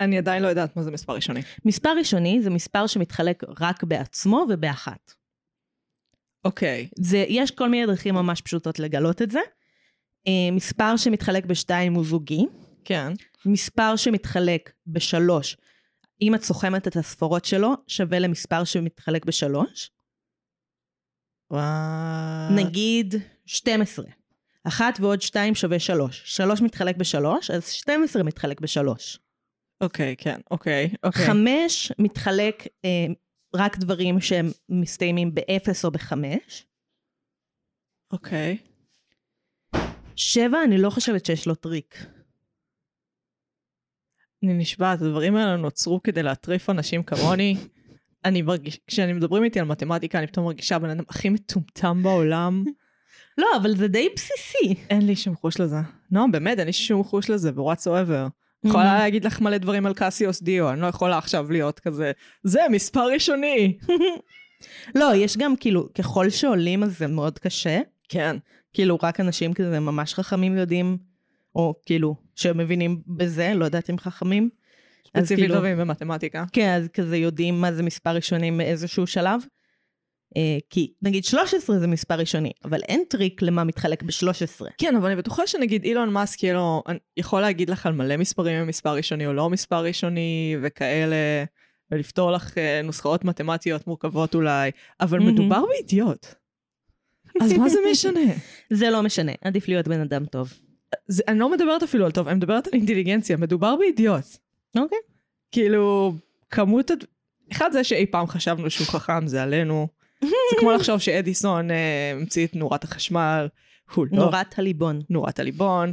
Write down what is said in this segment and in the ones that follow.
אני עדיין לא יודעת מה זה מספר ראשוני. מספר ראשוני זה מספר שמתחלק רק בעצמו ובאחת. אוקיי. זה, יש כל מיני דרכים ממש פשוטות לגלות את זה. אה, מספר שמתחלק בשתיים הוא זוגי. כן. מספר שמתחלק בשלוש, אם את סוכמת את הספורות שלו, שווה למספר שמתחלק בשלוש. וואו. נגיד 12. אחת ועוד שתיים שווה שלוש. שלוש מתחלק בשלוש, אז 12 מתחלק בשלוש. אוקיי, כן, אוקיי, אוקיי. חמש מתחלק אה, רק דברים שהם מסתיימים באפס או בחמש. אוקיי. שבע, אני לא חושבת שיש לו טריק. אני נשבעת, הדברים האלה נוצרו כדי להטריף אנשים כמוני. אני מרגיש, כשאני מדברים איתי על מתמטיקה, אני פתאום מרגישה הבן אדם הכי מטומטם בעולם. לא, אבל זה די בסיסי. אין לי שום חוש לזה. Mm-hmm. נועם, באמת, אין לי שום חוש לזה, ב-what's ever. יכולה להגיד לך מלא דברים על קסיוס דיו, אני לא יכולה עכשיו להיות כזה, זה מספר ראשוני. לא, יש גם כאילו, ככל שעולים אז זה מאוד קשה. כן. כאילו רק אנשים כזה ממש חכמים יודעים, או כאילו שמבינים בזה, לא יודעת אם חכמים. אז ספציפית לא כאילו- טובים במתמטיקה. כן, אז כזה יודעים מה זה מספר ראשוני מאיזשהו שלב. אה, כי נגיד 13 זה מספר ראשוני, אבל אין טריק למה מתחלק ב-13. כן, אבל אני בטוחה שנגיד אילון מאסק יהיה לו, אני- יכול להגיד לך על מלא מספרים אם מספר ראשוני או לא מספר ראשוני וכאלה, ולפתור לך אה, נוסחאות מתמטיות מורכבות אולי, אבל מהמם. מדובר באידיוט. אז מה זה משנה? זה לא משנה, עדיף להיות בן אדם טוב. זה, אני לא מדברת אפילו על טוב, אני מדברת על אינטליגנציה, מדובר באידיוט. אוקיי. כאילו, כמות... הד- אחד זה שאי פעם חשבנו שהוא חכם, זה עלינו. זה כמו לחשוב שאדיסון אה, המציא את נורת החשמל, הוא לא נורת הליבון. נורת הליבון,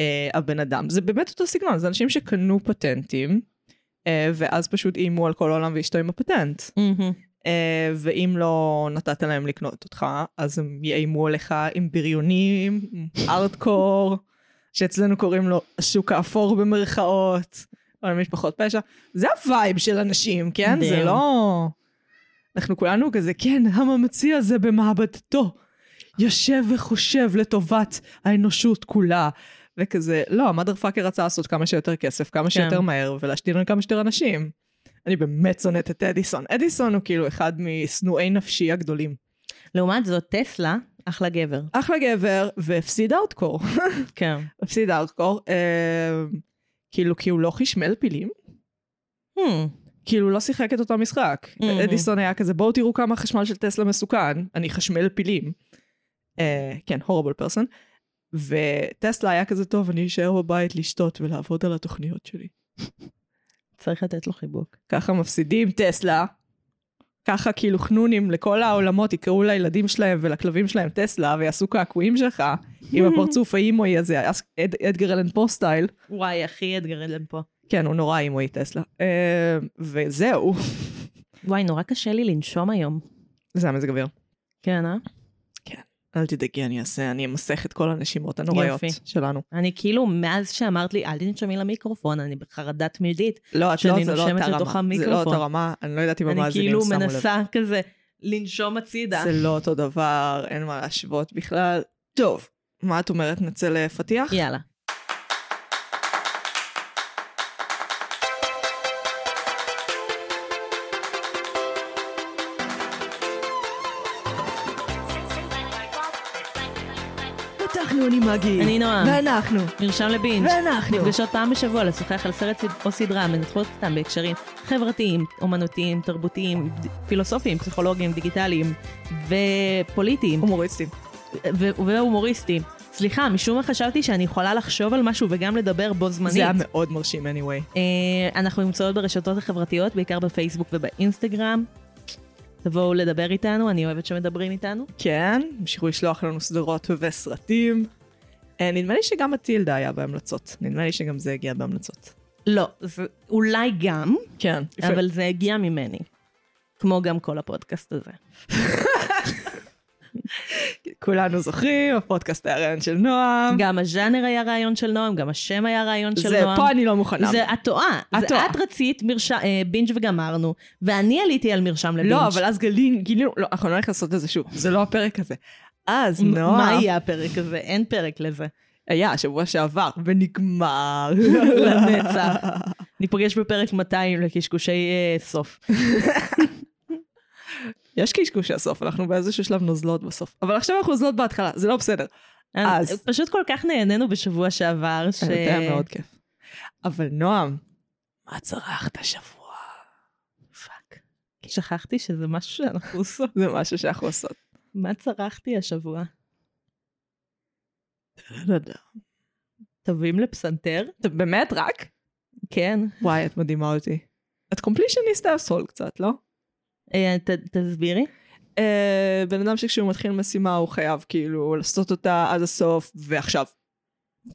אה, הבן אדם. זה באמת אותו סגנון, זה אנשים שקנו פטנטים, אה, ואז פשוט איימו על כל העולם ואשתו עם הפטנט. אה, ואם לא נתת להם לקנות אותך, אז הם יאיימו עליך עם בריונים, עם ארדקור, שאצלנו קוראים לו השוק האפור במרכאות, או למשפחות פשע. זה הווייב של אנשים, כן? זה מדהים. לא... אנחנו כולנו כזה, כן, הממציא הזה במעבדתו. יושב וחושב לטובת האנושות כולה. וכזה, לא, המאדר פאקר רצה לעשות כמה שיותר כסף, כמה כן. שיותר מהר, ולהשתין על כמה שיותר אנשים. אני באמת שונאת את אדיסון. אדיסון הוא כאילו אחד משנואי נפשי הגדולים. לעומת זאת, טסלה, אחלה גבר. אחלה גבר, והפסיד ארדקור. כן. הפסיד ארדקור, אה, כאילו, כי הוא לא חשמל פילים. Hmm, כאילו, לא שיחק את אותו משחק. מהמם. אדיסון היה כזה, בואו תראו כמה החשמל של טסלה מסוכן, אני חשמל פילים. אה, כן, הורבל פרסון. וטסלה היה כזה, טוב, אני אשאר בבית לשתות ולעבוד על התוכניות שלי. צריך לתת לו חיבוק. ככה מפסידים טסלה. ככה כאילו חנונים לכל העולמות יקראו לילדים שלהם ולכלבים שלהם טסלה ויעשו קעקועים שלך עם הפרצוף האימוי הזה, אס- אד, אדגר אלן פו סטייל. וואי, אחי אתגר אלן פה. כן, הוא נורא אימוי טסלה. אה, וזהו. וואי, נורא קשה לי לנשום היום. זה המזג אוויר. כן, אה? אל תדאגי, אני אעשה, אני אמסך את כל הנשימות הנוראיות יופי. שלנו. אני כאילו, מאז שאמרת לי, אל תנשמי למיקרופון, אני בחרדה תמידית. לא, את לא, שאני זה לא נושמת אותה לתוך רמה. זה לא המיקרופון. אותה רמה, אני לא יודעת אם אני המאזינים כאילו שמו לב. מנסה כזה לנשום הצידה. זה לא אותו דבר, אין מה להשוות בכלל. טוב, מה את אומרת, נצא לפתיח? יאללה. פתחנו אני מגי. אני נועם. ואנחנו. מרשם לבינג'. ואנחנו. נפגשות פעם בשבוע לשוחח על סרט סד- או סדרה, מנתחות אותם בהקשרים חברתיים, אומנותיים, תרבותיים, ד- פילוסופיים, פסיכולוגיים, דיגיטליים ופוליטיים הומוריסטים. ו- והומוריסטיים. סליחה, משום מה חשבתי שאני יכולה לחשוב על משהו וגם לדבר בו זמנית. זה היה מאוד מרשים anyway. אה, אנחנו נמצאות ברשתות החברתיות, בעיקר בפייסבוק ובאינסטגרם. תבואו לדבר איתנו, אני אוהבת שמדברים איתנו. כן, המשיכו לשלוח לנו סדרות וסרטים. אה, נדמה לי שגם הטילדה היה בהמלצות. נדמה לי שגם זה הגיע בהמלצות. לא, זה אולי גם, כן. אבל... אבל זה הגיע ממני. כמו גם כל הפודקאסט הזה. כולנו זוכרים, הפודקאסט היה רעיון של נועם. גם הז'אנר היה רעיון של נועם, גם השם היה רעיון של זה, נועם. פה אני לא מוכנה. זה את טועה. את זה טועה. את רצית מרש... אה, בינג' וגמרנו, ואני עליתי על מרשם לבינג'. לא, אבל אז גלין- גילינו, לא, אנחנו לא נכנסות לעשות את זה שוב, זה לא הפרק הזה. אז מ- נועם, מה יהיה הפרק הזה? אין פרק לזה. היה שבוע שעבר, ונגמר. לנצח. ניפגש בפרק 200 לקשקושי אה, סוף. יש קשקושי הסוף, אנחנו באיזשהו שלב נוזלות בסוף. אבל עכשיו אנחנו נוזלות בהתחלה, זה לא בסדר. אז. אז. אה, פשוט כל כך נהנינו בשבוע שעבר, ש... זה היה מאוד כיף. אבל נועם, מה צרחת השבוע? פאק. שכחתי שזה משהו שאנחנו עושות. זה משהו שאנחנו עושות. מה צרחתי השבוע? לא תווים לפסנתר? אתה באמת רק? כן. וואי, את מדהימה אותי. את קומפלישניסט הסול קצת, לא? אה, ת- תסבירי. אה, בן אדם שכשהוא מתחיל משימה הוא חייב כאילו לעשות אותה עד הסוף ועכשיו.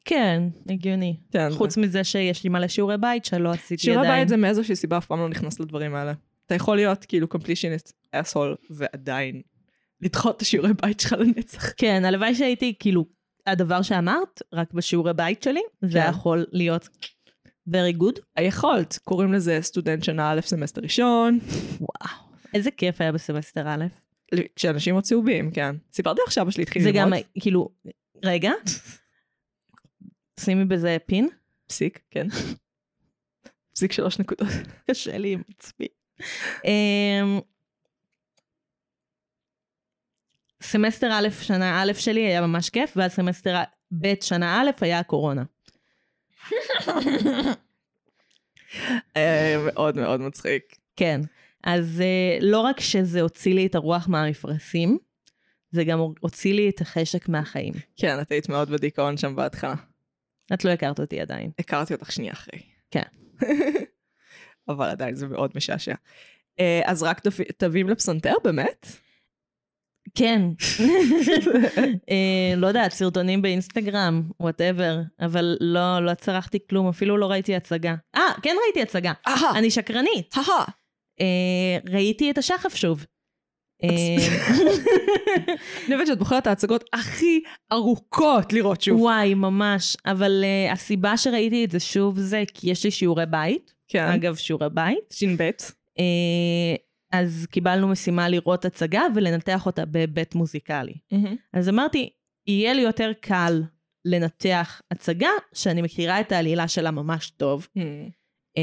כן, הגיוני. כן. חוץ מזה שיש לי מלא שיעורי בית שלא עשיתי עדיין. שיעורי בית זה מאיזושהי סיבה אף פעם לא נכנס לדברים האלה. אתה יכול להיות כאילו קומפלישניסט אסול ועדיין לדחות את השיעורי בית שלך לנצח. כן, הלוואי שהייתי, כאילו, הדבר שאמרת, רק בשיעורי בית שלי, זה כן. היה יכול להיות very good. היכולת, קוראים לזה סטודנט שנה א' סמסטר ראשון, וואו. איזה כיף היה בסמסטר א'. כשאנשים הוציאו בים, כן. סיפרתי לך שאבא שלי התחיל זה ללמוד. גם, כאילו, רגע, שימי בזה פין. פסיק, כן. פסיק שלוש נקודות. קשה לי עם עצמי. אמ, סמסטר א', שנה א' שלי היה ממש כיף, ואז סמסטר ב', שנה א', היה הקורונה. אה, מאוד מאוד מצחיק. כן. אז אה, לא רק שזה הוציא לי את הרוח מהמפרשים, זה גם הוציא לי את החשק מהחיים. כן, את היית מאוד בדיכאון שם בהתחלה. את לא הכרת אותי עדיין. הכרתי אותך שנייה אחרי. כן. אבל עדיין זה מאוד משעשע. אה, אז רק תב- תווים לפסנתר, באמת? כן. אה, לא יודעת, סרטונים באינסטגרם, וואטאבר, אבל לא, לא צרחתי כלום, אפילו לא ראיתי הצגה. אה, כן ראיתי הצגה. אהה, אני שקרנית. אהה. אה, ראיתי את השחף שוב. אה, אני חושבת שאת בוחרת את ההצגות הכי ארוכות לראות שוב. וואי, ממש. אבל אה, הסיבה שראיתי את זה שוב זה כי יש לי שיעורי בית. כן. אגב, שיעורי בית. ש"ב. אה, אז קיבלנו משימה לראות הצגה ולנתח אותה בהיבט מוזיקלי. אז אמרתי, יהיה לי יותר קל לנתח הצגה שאני מכירה את העלילה שלה ממש טוב, אה,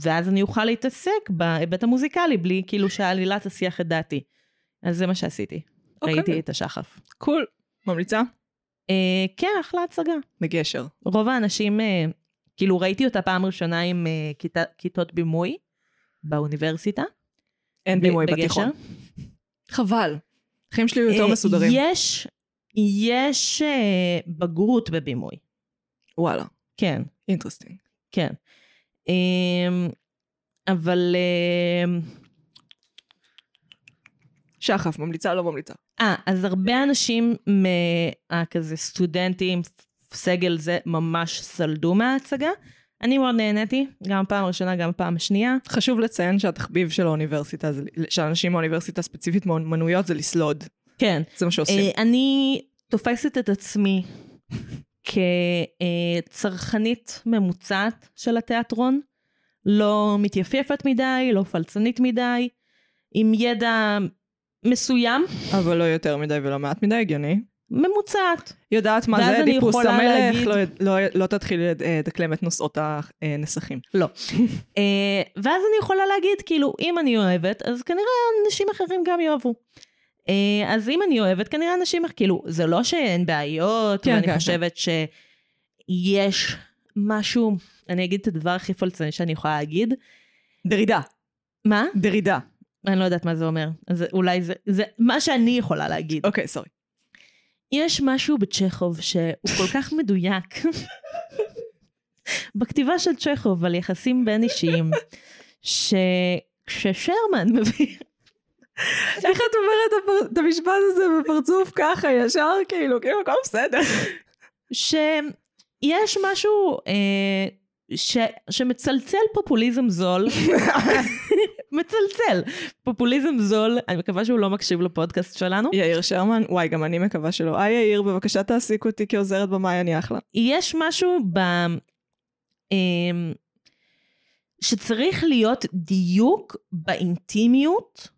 ואז אני אוכל להתעסק בהיבט המוזיקלי בלי כאילו שהעלילה תסיח את דעתי. אז זה מה שעשיתי. אוקיי. ראיתי את השחף. קול. ממליצה? אה, כן, אחלה הצגה. בגשר. רוב האנשים, אה, כאילו ראיתי אותה פעם ראשונה עם אה, כיתה, כיתות בימוי באוניברסיטה. אין ב- בימוי בגשר. בתיכון. חבל. החיים שלי היו יותר אה, מסודרים. יש, יש אה, בגרות בבימוי. וואלה, כן, אינטרסטינג. כן. אמ, אבל... אמ, שחף, ממליצה, לא ממליצה. אה, אז הרבה אנשים, מה, כזה סטודנטים, סגל זה, ממש סלדו מההצגה. אני מאוד נהניתי, גם פעם ראשונה, גם פעם שנייה. חשוב לציין שהתחביב של האוניברסיטה, זה- של אנשים מהאוניברסיטה ספציפית מאומנויות, זה לסלוד. כן. זה מה שעושים. אה, אני תופסת את עצמי כצרכנית ממוצעת של התיאטרון, לא מתייפייפת מדי, לא פלצנית מדי, עם ידע מסוים, אבל לא יותר מדי ולא מעט מדי, הגיוני. ממוצעת. יודעת מה ואז זה, אני דיפוס יכולה המלך, להגיד- לא, לא, לא תתחיל לדקלם את נושאות הנסחים. לא. אה, ואז אני יכולה להגיד, כאילו, אם אני אוהבת, אז כנראה אנשים אחרים גם יאהבו. אה, אז אם אני אוהבת, כנראה אנשים, כאילו, זה לא שאין בעיות, כן, כן, ואני כן, כן, חושבת כן. שיש משהו, אני אגיד את הדבר הכי פולצני שאני יכולה להגיד. דרידה, מה? דרידה. אני לא יודעת מה זה אומר. אז אולי זה, זה מה שאני יכולה להגיד. אוקיי, סורי. יש משהו בצ'כוב שהוא כל כך מדויק. בכתיבה של צ'כוב על יחסים בין אישיים, שכששרמן מביא... איך את אומרת את המשפט הזה בפרצוף ככה, ישר, כאילו, כאילו, הכל בסדר. שיש משהו אה, ש... שמצלצל פופוליזם זול, מצלצל פופוליזם זול, אני מקווה שהוא לא מקשיב לפודקאסט שלנו, יאיר שרמן, וואי, גם אני מקווה שלא. היי יאיר, בבקשה תעסיק אותי כעוזרת במאי, אני אחלה. יש משהו ב... אמ, שצריך להיות דיוק באינטימיות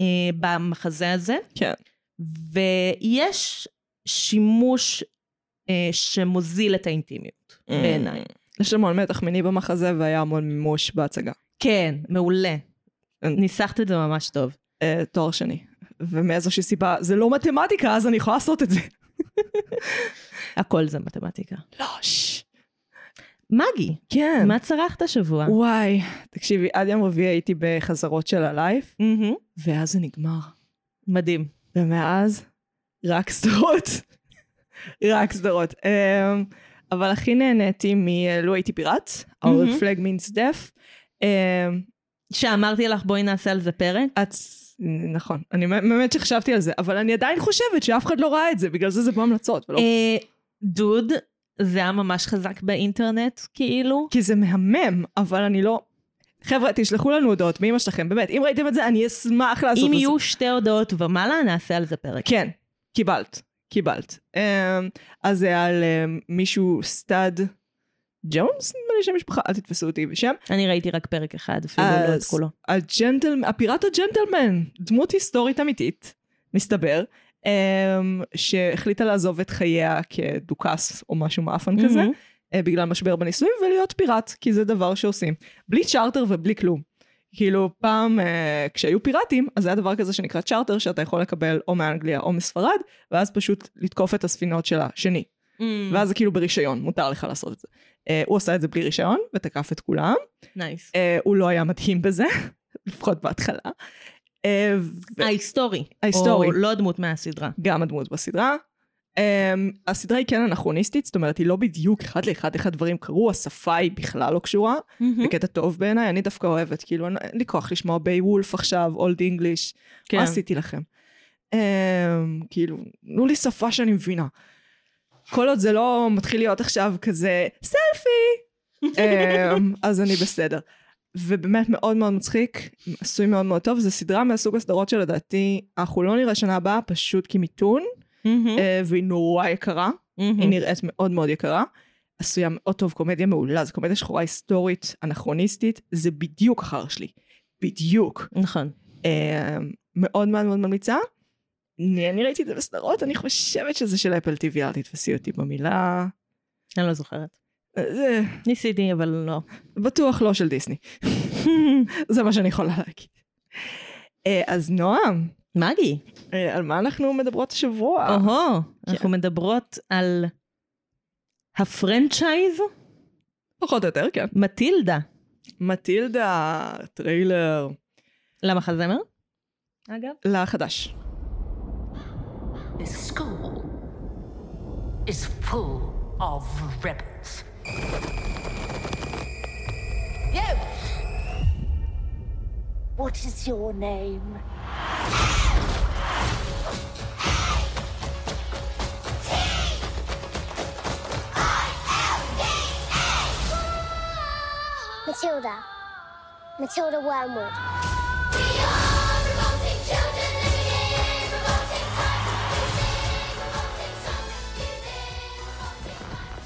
אה, במחזה הזה. כן. ויש שימוש אה, שמוזיל את האינטימיות בעיניי. יש המון מתח מיני במחזה והיה המון מימוש בהצגה. כן, מעולה. אה. ניסחת את זה ממש טוב. אה, תואר שני. ומאיזושהי סיבה, זה לא מתמטיקה, אז אני יכולה לעשות את זה. הכל זה מתמטיקה. לא, ש... מגי, כן. מה צרחת השבוע? וואי, תקשיבי, עד יום רביעי הייתי בחזרות של הלייב, מהמם. ואז זה נגמר. מדהים. ומאז, רק סדרות. רק סדרות. אמ, אבל הכי נהניתי מ"לו הייתי פיראט", מהמם. our flag means death. אמ, שאמרתי לך בואי נעשה על זה פרק? את... נכון, אני באמת שחשבתי על זה, אבל אני עדיין חושבת שאף אחד לא ראה את זה, בגלל זה זה בהמלצות. ולא- אה, דוד, זה היה ממש חזק באינטרנט, כאילו. כי זה מהמם, אבל אני לא... חבר'ה, תשלחו לנו הודעות מאמא שלכם, באמת. אם ראיתם את זה, אני אשמח לעשות את זה. אם יהיו שתי הודעות ומעלה, נעשה על זה פרק. כן, קיבלת, קיבלת. אמ, אז זה על אמ, מישהו סטאד ג'ונס, נדמה לי שם משפחה, אל תתפסו אותי בשם. אני ראיתי רק פרק אחד, אפילו לא את כן. אז- כולו. הג'נטל, הפיראט הג'נטלמן, דמות היסטורית אמיתית, מסתבר, אמ, שהחליטה לעזוב את חייה כדוכס או משהו מאפן כזה, מהמם. אה, בגלל משבר בנישואים, ולהיות פיראט, כי זה דבר שעושים. בלי צ'רטר ובלי כלום. כאילו, פעם אה, כשהיו פיראטים, אז היה דבר כזה שנקרא צ'רטר, שאתה יכול לקבל או מאנגליה או מספרד, ואז פשוט לתקוף את הספינות של השני. Mm, ואז זה כאילו ברישיון, מותר לך לעשות את זה. אה, הוא עשה את זה בלי רישיון, ותקף את כולם. נייס. אה, הוא לא היה מדהים בזה, לפחות בהתחלה. אה, ו- ההיסטורי. ההיסטורי. או לא הדמות מהסדרה. גם הדמות בסדרה. Um, הסדרה היא כן אנכרוניסטית, זאת אומרת היא לא בדיוק אחד לאחד איך הדברים קרו, השפה היא בכלל לא קשורה, מהמם. בקטע טוב בעיניי, אני דווקא אוהבת, כאילו אין אין לי כוח לשמוע ביי וולף עכשיו, אולד אינגליש, כן. מה עשיתי לכם? Um, כאילו, תנו לי שפה שאני מבינה. כל עוד זה לא מתחיל להיות עכשיו כזה סלפי, um, אז אני בסדר. ובאמת מאוד מאוד מצחיק, עשוי מאוד מאוד טוב, זו סדרה מהסוג הסדרות שלדעתי אנחנו לא נראה שנה הבאה, פשוט כי מיתון, מהמם. אה, והיא נורא יקרה, מהמם. היא נראית מאוד מאוד יקרה. עשויה מאוד טוב, קומדיה מעולה, זו קומדיה שחורה היסטורית, אנכרוניסטית, זה בדיוק אחר שלי. בדיוק. נכון. אה, מאוד מאוד מאוד ממליצה. אני, אני ראיתי את זה בסדרות, אני חושבת שזה של אפל TV, אל תתפסי אותי במילה. אני לא זוכרת. אה, זה ניסיתי, אבל לא. בטוח לא של דיסני. זה מה שאני יכולה להגיד. אה, אז נועם, מגי. אה, על מה אנחנו מדברות השבוע? אוהו. כן. אנחנו מדברות על הפרנצ'ייז פחות או יותר, כן. מטילדה. מטילדה, טריילר, למחזמר? אגב. לחדש. The school is full of rebels. You! What is your name? Matilda. Matilda Wormwood.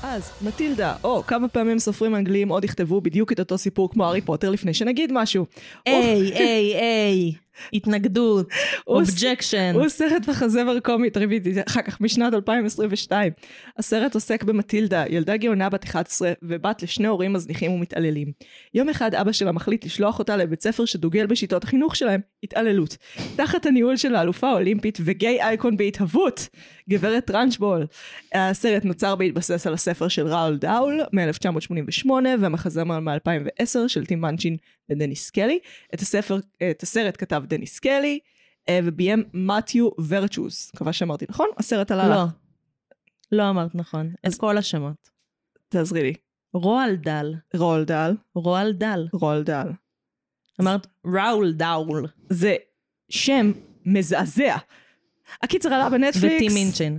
אז, מטילדה, או, כמה פעמים סופרים אנגליים עוד יכתבו בדיוק את אותו סיפור כמו הארי פוטר לפני שנגיד משהו. היי, היי, היי. התנגדות. הוא עוש- אובג'קשן. הוא סרט מחזמר קומי, טריוויטי, אחר כך משנת 2022. הסרט עוסק במטילדה, ילדה גאונה בת 11 ובת לשני הורים מזניחים ומתעללים. יום אחד אבא שלה מחליט לשלוח אותה לבית ספר שדוגל בשיטות החינוך שלהם, התעללות. תחת הניהול של האלופה האולימפית וגיי אייקון בהתהוות, גברת טרנצ'בול. הסרט נוצר בהתבסס על הספר של ראול דאול מ-1988 והמחזמר מ-2010 של טים מנצ'ין ודניס קלי. את, הספר, את הסרט כתב דניס קלי. אה, וביים מתיו ורצ'וס, מקווה שאמרתי נכון, הסרט עלה לא. לך, לא אמרת נכון. את כל השמות. תעזרי לי, רועל דל. רול דל, רועל דל. רול דל. אמרת ראול דאול. זה שם מזעזע. הקיצר עלה בנטפליקס. וטים מינצ'ין.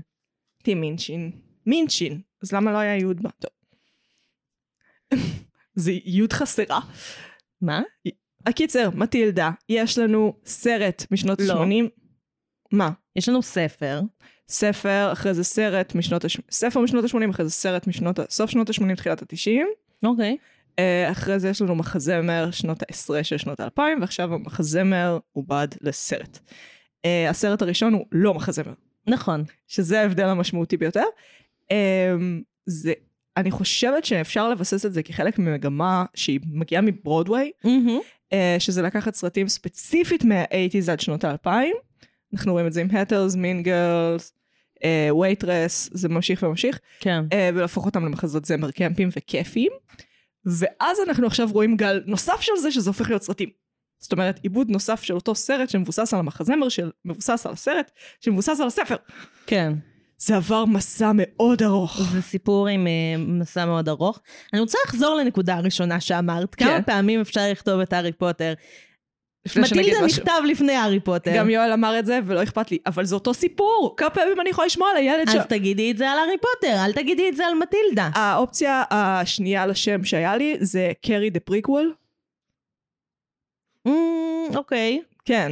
טים מינצ'ין. מינצ'ין. אז למה לא היה יוד בה? טוב. זה יוד חסרה. מה? הקיצר, מטילדה, יש לנו סרט משנות לא. ה-80. מה? יש לנו ספר. ספר, אחרי זה סרט משנות ה-80, ספר משנות ה-80, אחרי זה סרט משנות ה... סוף שנות ה-80, תחילת ה-90. אוקיי. אה, אחרי זה יש לנו מחזמר שנות העשרה של שנות האלפיים, ועכשיו המחזמר עובד לסרט. אה, הסרט הראשון הוא לא מחזמר, נכון. שזה ההבדל המשמעותי ביותר. אה, זה אני חושבת שאפשר לבסס את זה כחלק ממגמה שהיא מגיעה מברודוויי, מהמם. אה, שזה לקחת סרטים ספציפית מה-80's עד שנות ה-2000. אנחנו רואים את זה עם הטרס, מין גרלס, וייטרס, אה, זה ממשיך וממשיך, כן. אה, ולהפוך אותם למחזות זמר קמפים וכיפיים. ואז אנחנו עכשיו רואים גל נוסף של זה, שזה הופך להיות סרטים. זאת אומרת, עיבוד נוסף של אותו סרט שמבוסס על המחזמר, שמבוסס על הסרט, שמבוסס על הספר. כן. זה עבר מסע מאוד ארוך. זה סיפור עם אה, מסע מאוד ארוך. אני רוצה לחזור לנקודה הראשונה שאמרת. כן. כמה פעמים אפשר לכתוב את הארי פוטר? לפני שנגיד מטילדה משהו. אה. נכתב לפני הארי פוטר. גם יואל אמר את זה, ולא אכפת לי, אבל זה אותו סיפור. כמה פעמים אני יכולה לשמוע על הילד ש... אז תגידי את זה על הארי פוטר, אל תגידי את זה על מטילדה. האופציה השנייה לשם שהיה לי זה קרי דה פריקוול. אמ, אוקיי. כן.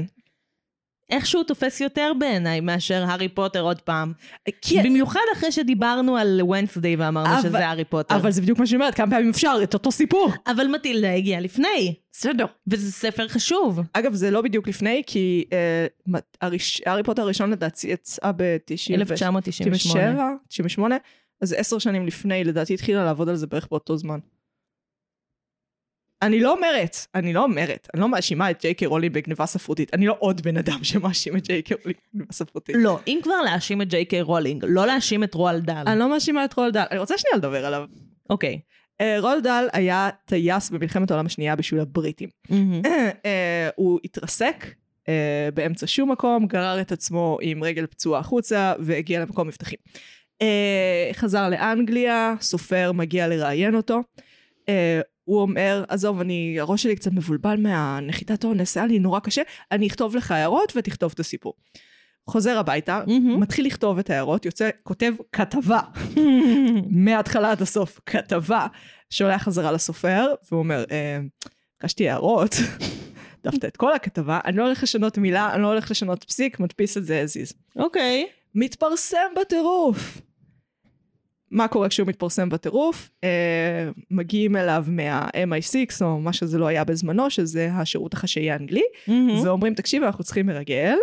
איכשהו תופס יותר בעיניי מאשר הארי פוטר עוד פעם. כי... במיוחד אחרי שדיברנו על וונסדיי ואמרנו אבל- שזה הארי פוטר. אבל זה בדיוק מה שאני אומרת, כמה פעמים אפשר את אותו סיפור. אבל מטילדה הגיעה לפני, בסדר. וזה ספר חשוב. אגב, זה לא בדיוק לפני, כי אה, מת- הראש- הארי פוטר הראשון לדעתי יצאה ב-97, 1998. 98, אז עשר שנים לפני, לדעתי התחילה לעבוד על זה בערך באותו זמן. אני לא אומרת, אני לא אומרת, אני לא מאשימה את ג'יי קי רולינג בגניבה ספרותית, אני לא עוד בן אדם שמאשים את ג'יי קי רולינג בגניבה ספרותית. לא, אם כבר להאשים את ג'יי קיי רולינג, לא להאשים את רועל דל. אני לא מאשימה את רולדל, אני רוצה שנייה לדבר עליו. אוקיי. אה, רולדל היה טייס במלחמת העולם השנייה בשביל הבריטים. מהמם. אה, הוא התרסק אה, באמצע שום מקום, גרר את עצמו עם רגל פצועה החוצה והגיע למקום מבטחים. אה, חזר לאנגליה, סופר מגיע לראיין אותו. אה, הוא אומר, עזוב, אני, הראש שלי קצת מבולבל מהנחיתת אונס, היה לי נורא קשה, אני אכתוב לך הערות ותכתוב את הסיפור. חוזר הביתה, מהמם. מתחיל לכתוב את ההערות, יוצא, כותב כתבה. מההתחלה עד הסוף כתבה, שולח חזרה לסופר, והוא אומר, אה, ביקשתי הערות, דווקא את כל הכתבה, אני לא הולך לשנות מילה, אני לא הולך לשנות פסיק, מדפיס את זה as is. אוקיי. מתפרסם בטירוף. מה קורה כשהוא מתפרסם בטירוף? אה, מגיעים אליו מה-MI6, או מה שזה לא היה בזמנו, שזה השירות החשאי האנגלי, מהמם. ואומרים, תקשיב, אנחנו צריכים מרגל.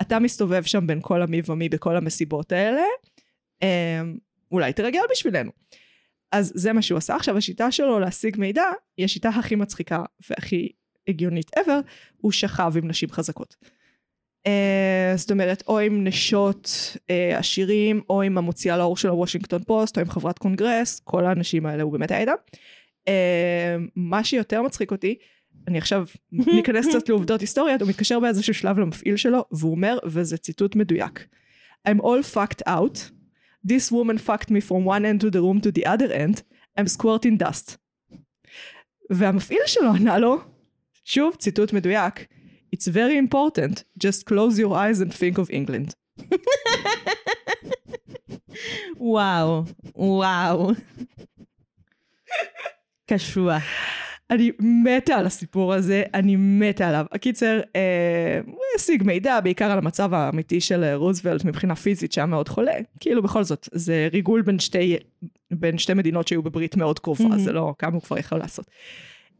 אתה מסתובב שם בין כל המי ומי בכל המסיבות האלה, אה, אולי תרגל בשבילנו. אז זה מה שהוא עשה. עכשיו, השיטה שלו להשיג מידע היא השיטה הכי מצחיקה והכי הגיונית ever, הוא שכב עם נשים חזקות. אה, זאת אומרת, או עם נשות אה, עשירים, או עם המוציאה לאור של הוושינגטון פוסט, או עם חברת קונגרס, כל האנשים האלה הוא באמת היה איתם. אה, מה שיותר מצחיק אותי, אני עכשיו ניכנס קצת לעובדות היסטוריות, הוא מתקשר באיזשהו שלב למפעיל שלו, והוא אומר, וזה ציטוט מדויק: I'm all fucked out, this woman fucked me from one end to the room to the other end, I'm squirting dust. והמפעיל שלו ענה לו, שוב ציטוט מדויק, It's very important, just close your eyes and think of England. וואו. וואו. קשוח. אני מתה על הסיפור הזה, אני מתה עליו. הקיצר, אה, הוא השיג מידע בעיקר על המצב האמיתי של אה, רוזוולט מבחינה פיזית שהיה מאוד חולה. כאילו בכל זאת, זה ריגול בין שתי, בין שתי מדינות שהיו בברית מאוד קרובה, Mhm. זה לא כמה הוא כבר יכול לעשות.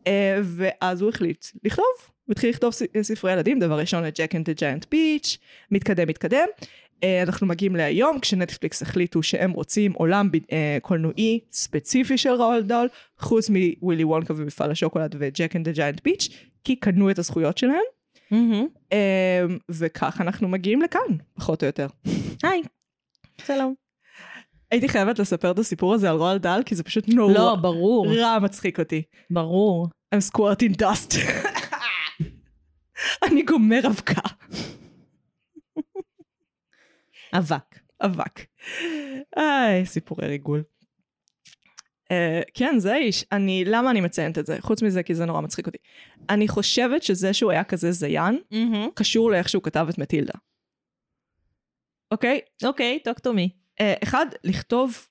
אה, ואז הוא החליט לכתוב, הוא התחיל לכתוב ס- ספרי ילדים, דבר ראשון את ג'ק אנד דה ג'יינט פיץ', מתקדם מתקדם. אה, אנחנו מגיעים להיום, כשנטפליקס החליטו שהם רוצים עולם ב- אה, קולנועי ספציפי של ראול דול, חוץ מווילי וונקה ומפעל השוקולד וג'ק אנד דה ג'יינט פיץ', כי קנו את הזכויות שלהם, מהמם. אה, וכך אנחנו מגיעים לכאן, פחות או יותר. היי. שלום. הייתי חייבת לספר את הסיפור הזה על רועל דל, כי זה פשוט נורא לא, ברור. רע מצחיק אותי. ברור. I'm squirting dust. אני גומר אבקה. אבק. אבק. איי, סיפורי ריגול. Uh, כן, זה האיש. אני, למה אני מציינת את זה? חוץ מזה, כי זה נורא מצחיק אותי. אני חושבת שזה שהוא היה כזה זיין, קשור לאיך שהוא כתב את מטילדה. אוקיי? אוקיי, talk to me. אה, אחד, לכתוב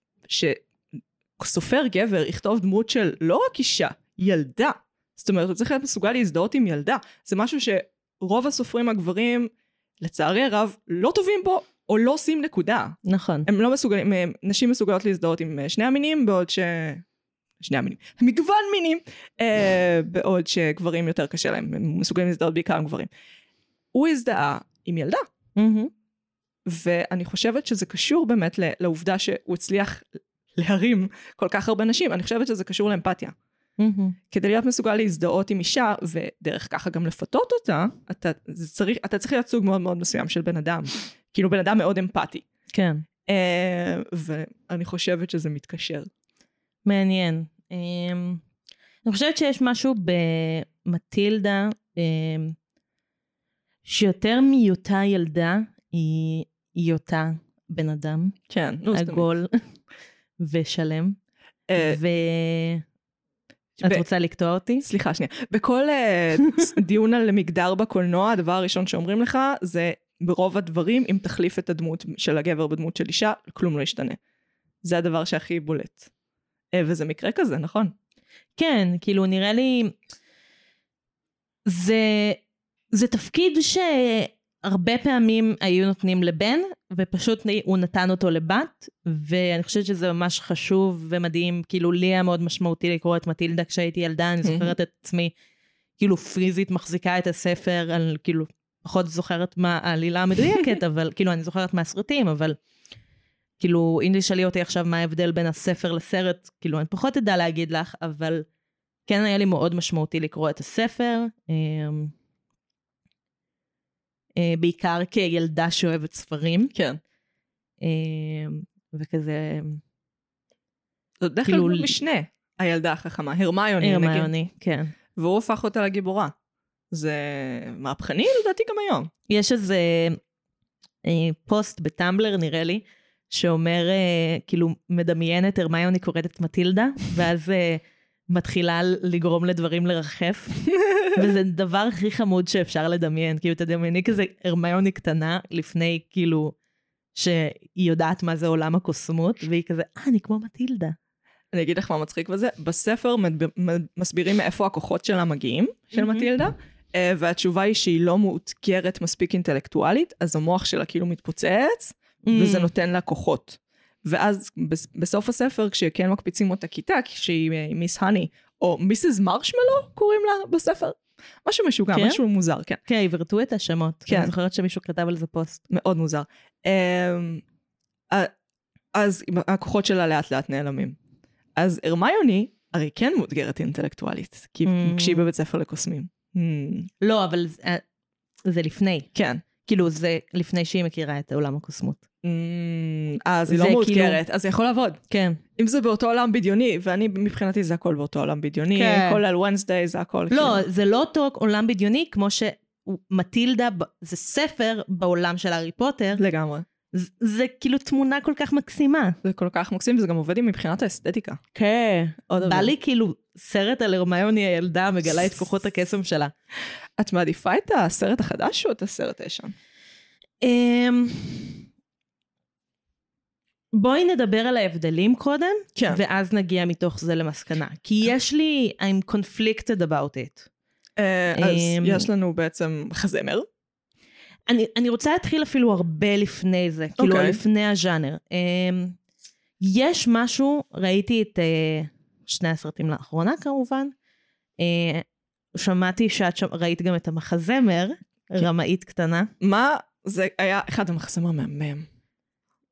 שסופר גבר יכתוב דמות של לא רק אישה, ילדה. זאת אומרת, הוא צריך להיות מסוגל להזדהות עם ילדה. זה משהו שרוב הסופרים הגברים, לצערי הרב, לא טובים בו, או לא עושים נקודה. נכון. הם לא מסוגלים, אה, נשים מסוגלות להזדהות עם אה, שני המינים, בעוד ש... שני המינים, מגוון מינים, אה, בעוד שגברים יותר קשה להם, הם מסוגלים להזדהות בעיקר עם גברים. הוא הזדהה עם ילדה, מהמם. ואני חושבת שזה קשור באמת ל- לעובדה שהוא הצליח להרים כל כך הרבה נשים, אני חושבת שזה קשור לאמפתיה. מהמם. כדי להיות מסוגל להזדהות עם אישה, ודרך ככה גם לפתות אותה, אתה זה צריך, אתה צריך להיות סוג מאוד מאוד מסוים של בן אדם. כאילו בן אדם מאוד אמפתי. כן. אה, ואני חושבת שזה מתקשר. מעניין. אמ, אני חושבת שיש משהו במטילדה אמ, שיותר מהיותה ילדה, היא היותה בן אדם כן, נו, זה תמיד. עגול ושלם. אה, ואת ב- רוצה לקטוע אותי? סליחה שנייה. בכל אה, דיון על מגדר בקולנוע, הדבר הראשון שאומרים לך זה ברוב הדברים, אם תחליף את הדמות של הגבר בדמות של אישה, כלום לא ישתנה. זה הדבר שהכי בולט. אה, וזה מקרה כזה, נכון? כן, כאילו נראה לי... זה, זה תפקיד שהרבה פעמים היו נותנים לבן, ופשוט הוא נתן אותו לבת, ואני חושבת שזה ממש חשוב ומדהים. כאילו לי היה מאוד משמעותי לקרוא את מטילדה כשהייתי ילדה, אני זוכרת את עצמי כאילו פיזית מחזיקה את הספר, על כאילו פחות זוכרת מה העלילה המדויקת, אבל כאילו אני זוכרת מהסרטים, אבל כאילו אם תשאלי אותי עכשיו מה ההבדל בין הספר לסרט, כאילו אני פחות אדע להגיד לך, אבל כן היה לי מאוד משמעותי לקרוא את הספר. אמ, אה, בעיקר כילדה שאוהבת ספרים, כן. אמ, וכזה זאת בדרך כלל כאילו- דמות משנה, הילדה החכמה, הרמיוני נגיד. הרמיוני, כן. והוא הפך אותה לגיבורה. זה מהפכני לדעתי גם היום. יש איזה אה, פוסט בטמבלר, נראה לי, שאומר, אה, כאילו, מדמיין את הרמיוני קוראת את מטילדה, ואז אה, מתחילה לגרום לדברים לרחף, וזה הדבר הכי חמוד שאפשר לדמיין. כאילו, תדמייני כזה הרמיוני קטנה, לפני, כאילו, שהיא יודעת מה זה עולם הקוסמות, והיא כזה, אה, אני כמו מטילדה. אני אגיד לך מה מצחיק בזה, בספר מדבר, מד- מסבירים מאיפה הכוחות שלה מגיעים, של מהמם. מטילדה, אה, והתשובה היא שהיא לא מאותגרת מספיק אינטלקטואלית, אז המוח שלה כאילו מתפוצץ, Mm. וזה נותן לה כוחות. ואז בס- בסוף הספר, כשכן מקפיצים אותה כיתה, כשהיא אה, מיס הני, או מיסס מרשמלו קוראים לה בספר, משהו משוגע, כן? משהו מוזר, כן. כן, עברתו את השמות. כן. אני זוכרת שמישהו כתב על זה פוסט. מאוד מוזר. אמ, א- אז הכוחות שלה לאט לאט נעלמים. אז הרמיוני הרי כן מאותגרת אינטלקטואלית, כי Mm. כשהיא בבית ספר לקוסמים. Mm, לא, אבל זה- אה, זה לפני. כן. כאילו זה לפני שהיא מכירה את עולם הקוסמות. Mm, אז היא לא זה כאילו- מאותגרת, אז זה יכול לעבוד. כן. אם זה באותו עולם בדיוני, ואני מבחינתי זה הכל באותו עולם בדיוני, כן. כל על ונסדי זה הכל. לא, כאילו. זה לא אותו עולם בדיוני כמו שמטילדה, זה ספר בעולם של הארי פוטר, לגמרי. זה- זה כאילו תמונה כל כך מקסימה. זה כל כך מקסים, וזה גם עובד עם מבחינת האסתטיקה. כן. עוד בא דבר. לי כאילו סרט על הרמיוני הילדה מגלה את כוחות הקסם שלה. את מעדיפה את הסרט החדש או את הסרט הישן? אמ, בואי נדבר על ההבדלים קודם, כן. ואז נגיע מתוך זה למסקנה. כי יש לי, I'm conflicted about it. אה, אז אמ, יש לנו בעצם חזמר. אני, אני רוצה להתחיל אפילו הרבה לפני זה, okay. כאילו אוקיי. לפני הז'אנר. Um, יש משהו, ראיתי את uh, שני הסרטים לאחרונה כמובן, uh, שמעתי שאת שם, ראית גם את המחזמר, כן. רמאית קטנה. מה זה היה אחד המחסם המהמם.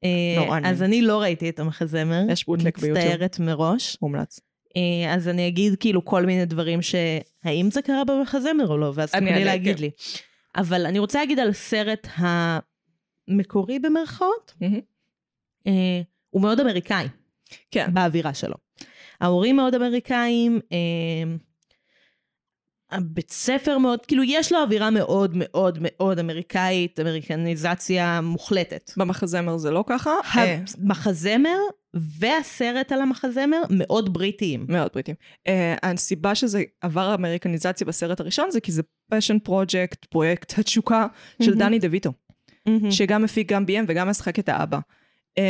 Uh, נורא אז נעים. אני לא ראיתי את המחזמר, יש בוטלק ביוטיוב. מצטערת מראש. מומלץ. אה, אז אני אגיד כאילו כל מיני דברים שהאם זה קרה במחזמר או לא, ואז אני תוכלי אענה, להגיד כן. לי. אבל אני רוצה להגיד על הסרט המקורי במרכאות, מהמם. אה, הוא מאוד אמריקאי כן. באווירה שלו. ההורים מאוד אמריקאים, אה, הבית ספר מאוד, כאילו יש לו אווירה מאוד מאוד מאוד אמריקאית, אמריקניזציה מוחלטת. במחזמר זה לא ככה. אה, המחזמר והסרט על המחזמר מאוד בריטיים. מאוד בריטים. אה, הסיבה שזה עבר אמריקניזציה בסרט הראשון זה כי זה פשן פרויקט, פרויקט התשוקה של מהמם. דני דויטו, מהמם. שגם מפיק, גם ביים וגם משחק את האבא. אה,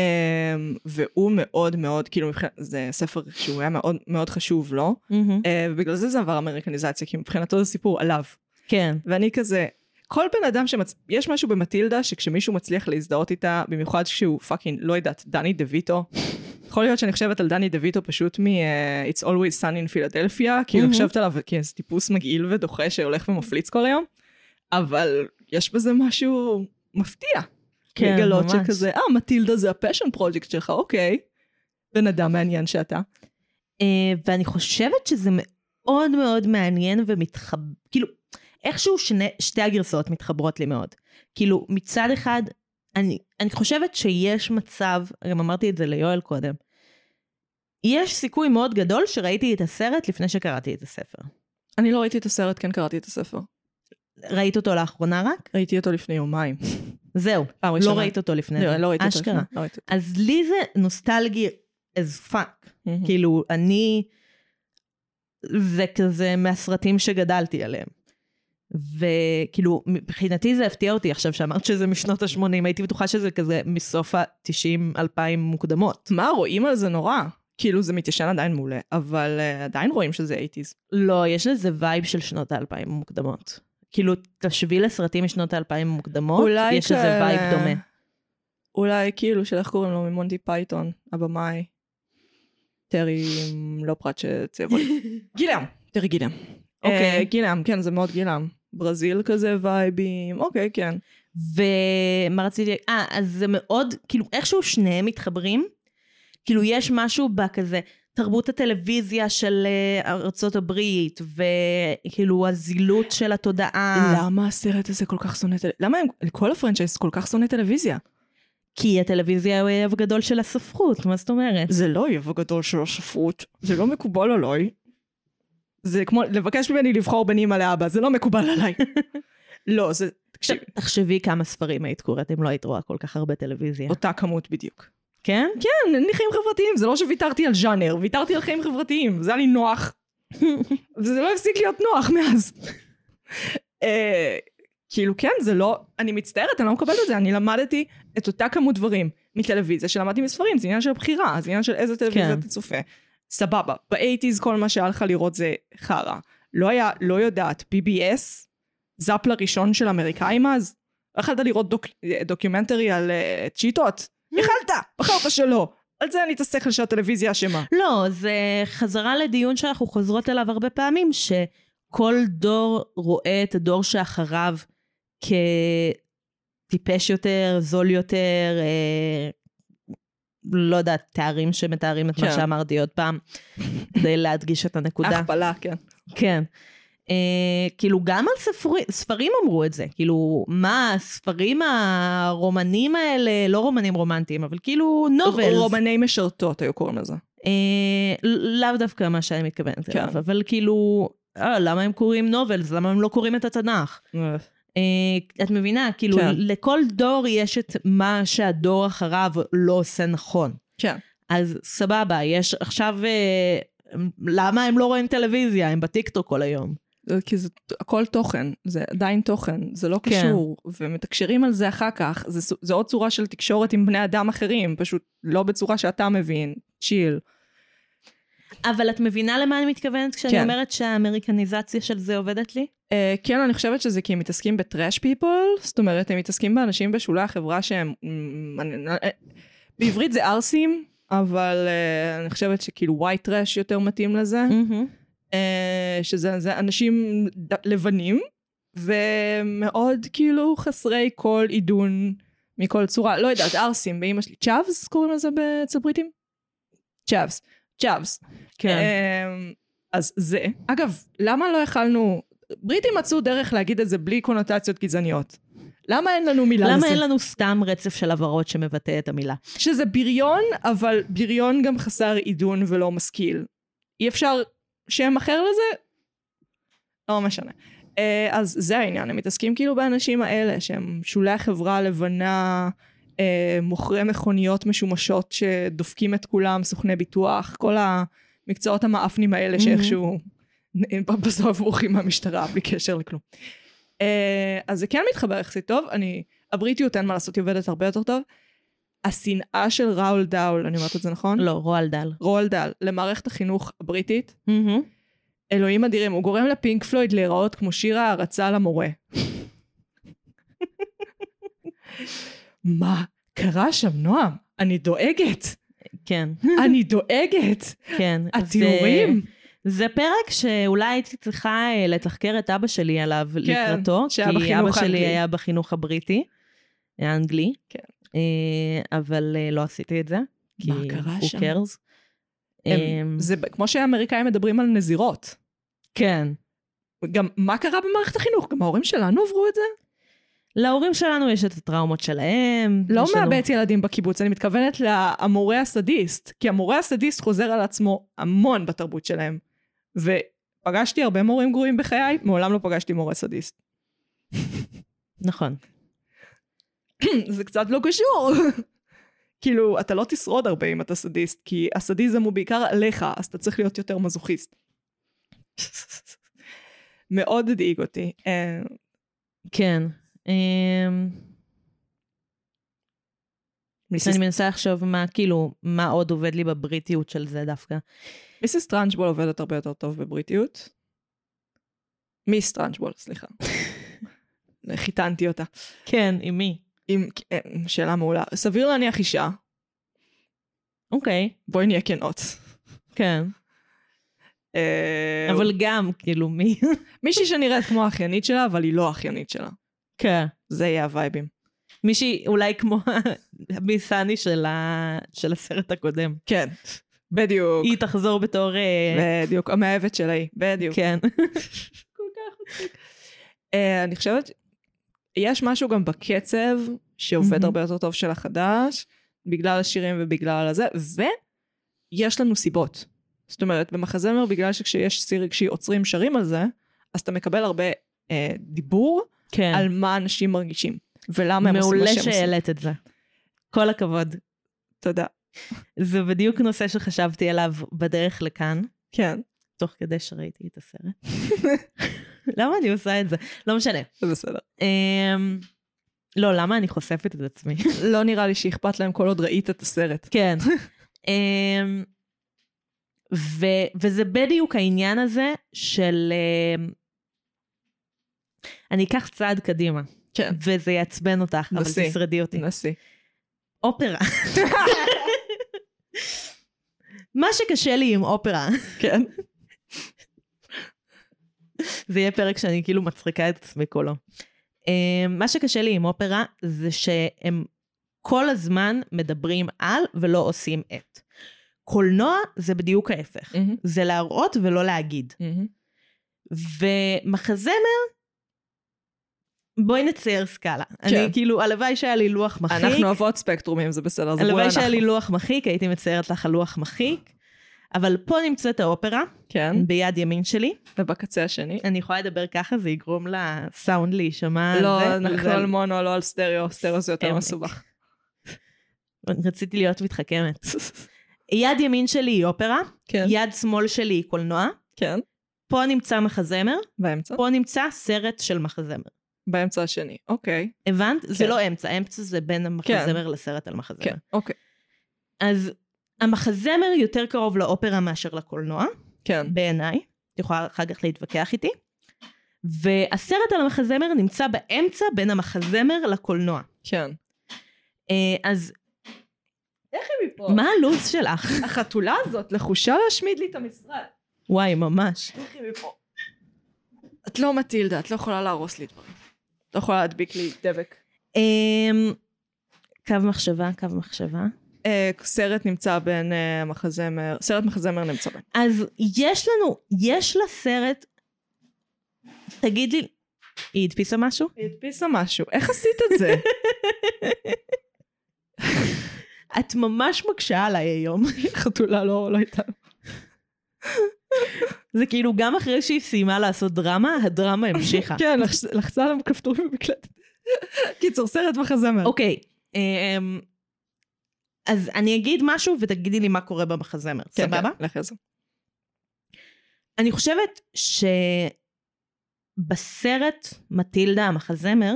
והוא מאוד מאוד, כאילו מבחינת, זה ספר שהוא היה מאוד מאוד חשוב לו, מהמם. אה, ובגלל זה זה עבר אמריקניזציה, כי מבחינתו זה סיפור עליו. כן. ואני כזה, כל בן אדם שמצ... יש משהו במטילדה שכשמישהו מצליח להזדהות איתה, במיוחד כשהוא פאקינג, לא יודעת, דני דויטו. יכול להיות שאני חושבת על דני דויטו פשוט מ-It's Always Sun in Philadelphia, כאילו Mhm. חושבת עליו כאיזה טיפוס מגעיל ודוחה שהולך ומפליץ כל היום, אבל יש בזה משהו מפתיע. כן, לגלות ממש. שכזה, אה, מטילדה זה הפשן פרויקט שלך, אוקיי. בן אדם מעניין שאתה. אה, ואני חושבת שזה מאוד מאוד מעניין ומתחב... כאילו, איכשהו שני, שתי הגרסאות מתחברות לי מאוד. כאילו, מצד אחד, אני, אני חושבת שיש מצב, גם אמרתי את זה ליואל קודם, יש סיכוי מאוד גדול שראיתי את הסרט לפני שקראתי את הספר. אני לא ראיתי את הסרט, כן קראתי את הספר. ראית אותו לאחרונה רק? ראיתי אותו לפני יומיים. זהו, פעם לא ראשונה. ראית אותו לפני. לא, זה. לא ראיתי אותו. אשכרה. לפני, לא ראיתי אותו. אז לי זה נוסטלגי as fuck. מהמם. כאילו, אני... זה כזה מהסרטים שגדלתי עליהם. וכאילו, מבחינתי זה הפתיע אותי עכשיו שאמרת שזה משנות ה-80, הייתי בטוחה שזה כזה מסוף ה-90-2000 מוקדמות. מה, רואים על זה נורא. כאילו, זה מתיישן עדיין מעולה, אבל אה, עדיין רואים שזה 80's. לא, יש לזה וייב של שנות ה-2000 מוקדמות. כאילו, תשווי לסרטים משנות ה-2000 המוקדמות, אולי אוקיי, יש לזה כאלה- וייב דומה. אולי כאילו, של איך קוראים לו, ממונטי פייתון, הבמאי. טרי, לא פרט שצבע לי. גילם, טרי גילם. אוקיי. אה, גילם, כן, זה מאוד גילם. ברזיל כזה וייבים, אוקיי, כן. ומה רציתי... אה, אז זה מאוד, כאילו, איכשהו שניהם מתחברים. כאילו, יש משהו בכזה תרבות הטלוויזיה של אה, ארצות הברית, וכאילו הזילות של התודעה. למה הסרט הזה כל כך שונא טלוויזיה? למה הם- כל הפרנצ'ייז כל כך שונא טלוויזיה? כי הטלוויזיה היא האויב הגדול של הספרות, מה זאת אומרת? זה לא אויב הגדול של השפרות, זה לא מקובל עליי. זה כמו לבקש ממני לבחור בין אימא לאבא, זה לא מקובל עליי. לא, זה... עכשיו, תקשיב, תחשבי כמה ספרים היית קוראת אם לא היית רואה כל כך הרבה טלוויזיה. אותה כמות בדיוק. כן? כן, אין לי חיים חברתיים, זה לא שוויתרתי על ז'אנר, ויתרתי על חיים חברתיים, זה היה לי נוח. וזה לא הפסיק להיות נוח מאז. אה, כאילו כן, זה לא... אני מצטערת, אני לא מקבלת את זה, אני למדתי את אותה כמות דברים מטלוויזיה שלמדתי מספרים, זה עניין של בחירה, זה עניין של איזה טלוויזיה כן. אתה צופה. סבבה, באייטיז כל מה שהיה לך לראות זה חרא. לא היה, לא יודעת, BBS, זאפ לראשון של אמריקאים אז, לא יכלת לראות דוק, דוקיומנטרי על uh, צ'יטות? יכלת, בחרת שלא. על זה אני את השכל של הטלוויזיה אשמה. לא, זה חזרה לדיון שאנחנו חוזרות אליו הרבה פעמים, שכל דור רואה את הדור שאחריו כטיפש יותר, זול יותר, אה, לא יודעת, תארים שמתארים את מה כן. שאמרתי עוד פעם, כדי להדגיש את הנקודה. הכפלה, כן. כן. אה, כאילו גם על ספרי, ספרים אמרו את זה, כאילו מה הספרים הרומנים האלה, לא רומנים רומנטיים, אבל כאילו נובלס. רומני משרתות היו קוראים לזה. אה, לאו דווקא מה שאני מתכוונת אליו, כן. אבל כאילו, אה, למה הם קוראים נובלס? למה הם לא קוראים את התנ"ך? אה, את מבינה? כאילו, כן. לכל דור יש את מה שהדור אחריו לא עושה נכון. כן. אז סבבה, יש עכשיו... אה, למה הם לא רואים טלוויזיה? הם בטיקטוק כל היום. זה- כי זה הכל תוכן, זה עדיין תוכן, זה לא כן. קשור, ומתקשרים על זה אחר כך, זה, סו- זה עוד צורה של תקשורת עם בני אדם אחרים, פשוט לא בצורה שאתה מבין, צ'יל. אבל את מבינה למה אני מתכוונת כשאני כן. אומרת שהאמריקניזציה של זה עובדת לי? אה, כן, אני חושבת שזה כי הם מתעסקים בטראש פיפול, זאת אומרת, הם מתעסקים באנשים בשולי החברה שהם... אמ, אני- אה, בעברית זה ערסים, אבל אה, אני חושבת שכאילו white trash יותר מתאים לזה. אה, שזה זה אנשים ד- לבנים, ומאוד כאילו חסרי כל עידון מכל צורה, לא יודעת, ערסים באמא שלי, צ'אבס קוראים לזה אצל בריטים? צ'אבס, צ'אבס. כן. אמ, אז זה. אגב, למה לא יכלנו... בריטים מצאו דרך להגיד את זה בלי קונוטציות גזעניות. למה אין לנו מילה למה לזה? אין לנו סתם רצף של הבהרות שמבטא את המילה? שזה בריון, אבל בריון גם חסר עידון ולא משכיל. אי אפשר שם אחר לזה? לא משנה. אה, אז זה העניין, הם מתעסקים כאילו באנשים האלה, שהם שולי החברה הלבנה, אה, מוכרי מכוניות משומשות שדופקים את כולם, סוכני ביטוח, כל המקצועות המאפנים האלה שאיכשהו נ- בסוף בורחים מהמשטרה בלי קשר לכלום. אה, אז זה כן מתחבר יחסית טוב, אני, הבריטיות אין מה לעשות, היא עובדת הרבה יותר טוב. השנאה של ראול דאול, אני אומרת את זה נכון? לא, רועל דל. ראול דאל, למערכת החינוך הבריטית, אלוהים אדירים, הוא גורם לפינק פלויד להיראות כמו שיר הערצה למורה. מה קרה שם, נועם? אני דואגת, כן. אני דואגת. כן. אז, התיאורים. אה, זה פרק שאולי הייתי צריכה אה, לתחקר את אבא שלי עליו כן, לקראתו, כי שהיה בחינוך אבא שלי האנגלי. היה בחינוך הבריטי, האנגלי, כן. אה, אבל אה, לא עשיתי את זה. כי מה קרה who שם? cares. הם- אמ, זה ב- כמו שהאמריקאים מדברים על נזירות. כן. גם מה קרה במערכת החינוך? גם ההורים שלנו עברו את זה? להורים שלנו יש את הטראומות שלהם. לא יש לנו- מאבד ילדים בקיבוץ, אני מתכוונת למורה הסדיסט. כי המורה הסדיסט חוזר על עצמו המון בתרבות שלהם. ופגשתי הרבה מורים גרועים בחיי, מעולם לא פגשתי מורה סדיסט. נכון. זה קצת לא קשור. כאילו, אתה לא תשרוד הרבה אם אתה סדיסט, כי הסדיזם הוא בעיקר עליך, אז אתה צריך להיות יותר מזוכיסט. מאוד הדאיג אותי. אה, כן. אמ, מיסיס- אני מנסה לחשוב מה, כאילו, מה עוד עובד לי בבריטיות של זה דווקא. מיסיס טרנג'בול עובדת הרבה יותר טוב בבריטיות. מיס טרנג'בול, סליחה. חיתנתי אותה. כן, עם מי? עם אה, שאלה מעולה. סביר להניח אישה, אוקיי, בואי נהיה כנות. כן. אה, אבל גם, כאילו, מי? מישהי שנראית כמו האחיינית שלה, אבל היא לא האחיינית שלה. כן. זה יהיה הווייבים. מישהי אולי כמו הביסני של ה- של הסרט הקודם. כן, בדיוק. היא תחזור בתור... אה, בדיוק, המאהבת שלה היא, בדיוק. כן. אה, אני חושבת, יש משהו גם בקצב שעובד מהמם. הרבה יותר טוב של החדש, בגלל השירים ובגלל הזה, ויש לנו סיבות. זאת אומרת, במחזמר, בגלל שכשיש שיר רגשי עוצרים שרים על זה, אז אתה מקבל הרבה אה, דיבור כן. על מה אנשים מרגישים, ולמה הם עושים מה מעולה שהם עושים. שהעלית את זה. כל הכבוד. תודה. זה בדיוק נושא שחשבתי עליו בדרך לכאן, כן, תוך כדי שראיתי את הסרט. למה אני עושה את זה? לא משנה. זה בסדר. אמ, לא, למה אני חושפת את עצמי? לא נראה לי שאכפת להם כל עוד ראית את הסרט. כן. אמ, ו- וזה בדיוק העניין הזה של... אמ, אני אקח צעד קדימה, כן. וזה יעצבן אותך, אבל נסי. תשרדי אותי. נסי. אופרה. מה שקשה לי עם אופרה, כן. זה יהיה פרק שאני כאילו מצחיקה את עצמי כולו. אה, מה שקשה לי עם אופרה זה שהם כל הזמן מדברים על ולא עושים את. קולנוע זה בדיוק ההפך. אה. זה להראות ולא להגיד. ומחזמר, בואי נצייר סקאלה. אני כאילו, הלוואי שהיה לי לוח מחיק. כן. אנחנו אוהבות ספקטרומים, זה בסדר, זה בול הלוואי לא- אנחנו. שהיה לי לוח מחיק, הייתי מציירת לך על לוח מחיק. אבל פה נמצאת האופרה, כן, ביד ימין שלי. ובקצה השני. אני יכולה לדבר ככה, זה יגרום לסאונד להישמע. לא, זה- נכון. אנחנו זה- על אוקיי. מונו, לא על סטריאו, סטריאו זה יותר עמק. מסובך. רציתי להיות מתחכמת. יד ימין שלי היא אופרה, כן, יד שמאל שלי היא קולנוע, כן, פה נמצא מחזמר, באמצע? פה נמצא סרט של מחזמר. באמצע השני, אוקיי. הבנת? זה כן. לא אמצע, אמצע זה בין המחזמר לסרט על מחזמר. כן, אוקיי. אז המחזמר יותר קרוב לאופרה מאשר לקולנוע, כן, בעיניי. את יכולה אחר כך להתווכח איתי. והסרט על המחזמר נמצא באמצע בין המחזמר לקולנוע. כן. אה, אז איך היא מפה? מה הלו"ז שלך? החתולה הזאת לחושה להשמיד לי את המשרד. וואי, ממש. איך היא מפה? את לא מטילדה, את לא יכולה להרוס לי דברים. את לא יכולה להדביק לי דבק. אמ, קו מחשבה, קו מחשבה. אה, סרט נמצא בין אה, מחזמר, סרט מחזמר נמצא בין. אז יש לנו, יש לסרט... תגיד לי, היא הדפיסה משהו? היא הדפיסה משהו, איך עשית את זה? את ממש מקשה עליי היום. חתולה לא לא הייתה. זה כאילו, גם אחרי שהיא סיימה לעשות דרמה, הדרמה המשיכה. כן, לחצ- לחצה על הכפתור במקלטת. קיצור, סרט מחזמר. אוקיי, אמ, אז אני אגיד משהו ותגידי לי מה קורה במחזמר, כן, סבבה? כן, לך לזה. אני חושבת שבסרט מטילדה המחזמר,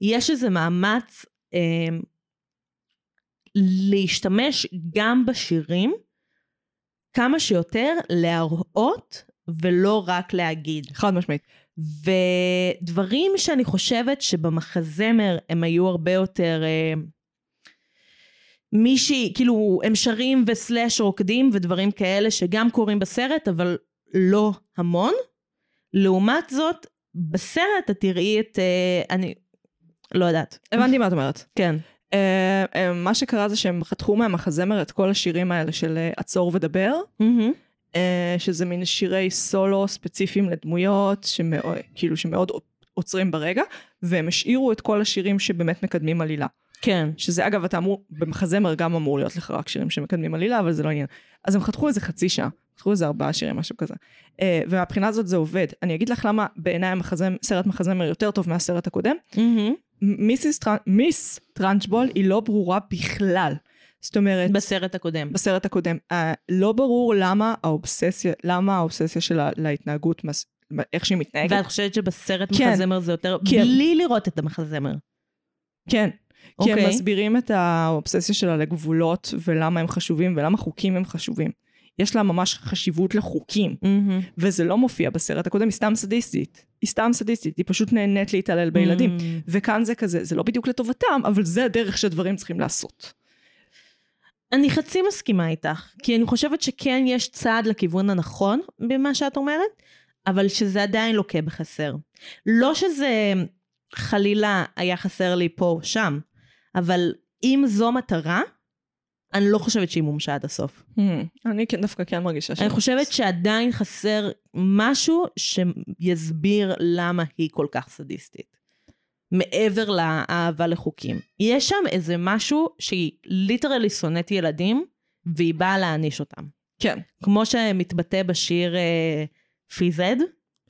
יש איזה מאמץ אמ, להשתמש גם בשירים כמה שיותר להראות ולא רק להגיד. חד משמעית. ודברים שאני חושבת שבמחזמר הם היו הרבה יותר אה, מישהי, כאילו הם שרים וסלאש רוקדים ודברים כאלה שגם קורים בסרט אבל לא המון. לעומת זאת, בסרט את תראי את, אה, אני לא יודעת. הבנתי מה את אומרת. כן. אה, אה, מה שקרה זה שהם חתכו מהמחזמר את כל השירים האלה של אה, עצור ודבר, מהמם. אה, שזה מין שירי סולו ספציפיים לדמויות, שמאוד, כאילו שמאוד עוצרים ברגע, והם השאירו את כל השירים שבאמת מקדמים עלילה. כן. שזה אגב, אתה אמור, במחזמר גם אמור להיות לך רק שירים שמקדמים עלילה, אבל זה לא עניין. אז הם חתכו איזה חצי שעה, חתכו איזה ארבעה שירים, משהו כזה. אה, ומהבחינה הזאת זה עובד. אני אגיד לך למה בעיניי המחזמ- סרט מחזמר יותר טוב מהסרט הקודם. מהמם. מ- מיסיס טרנ... מיס טרנצ'בול היא לא ברורה בכלל. זאת אומרת, בסרט הקודם. בסרט הקודם, אה, לא ברור למה האובססיה, למה האובססיה שלה להתנהגות, מס- איך שהיא מתנהגת. ואת חושבת שבסרט כן. מחזמר זה יותר... כן. בלי לראות את המחזמר. כן. כי אוקיי. הם מסבירים את האובססיה שלה לגבולות ולמה הם חשובים ולמה חוקים הם חשובים. יש לה ממש חשיבות לחוקים, מהמם. וזה לא מופיע בסרט הקודם, היא סתם סדיסטית. היא סתם סדיסטית, היא פשוט נהנית להתעלל בילדים. Mm. וכאן זה כזה, זה לא בדיוק לטובתם, אבל זה הדרך שדברים צריכים לעשות. אני חצי מסכימה איתך, כי אני חושבת שכן יש צעד לכיוון הנכון במה שאת אומרת, אבל שזה עדיין לוקה בחסר. לא שזה חלילה היה חסר לי פה או שם, אבל אם זו מטרה, אני לא חושבת שהיא מומשה עד הסוף. אני כן דווקא כן מרגישה ש... אה, אני חושבת שעדיין חסר משהו שיסביר למה היא כל כך סדיסטית. מעבר לאהבה לחוקים. יש שם איזה משהו שהיא ליטרלי שונאת ילדים, והיא באה להעניש אותם. כן. כמו שמתבטא בשיר אה, פיזד.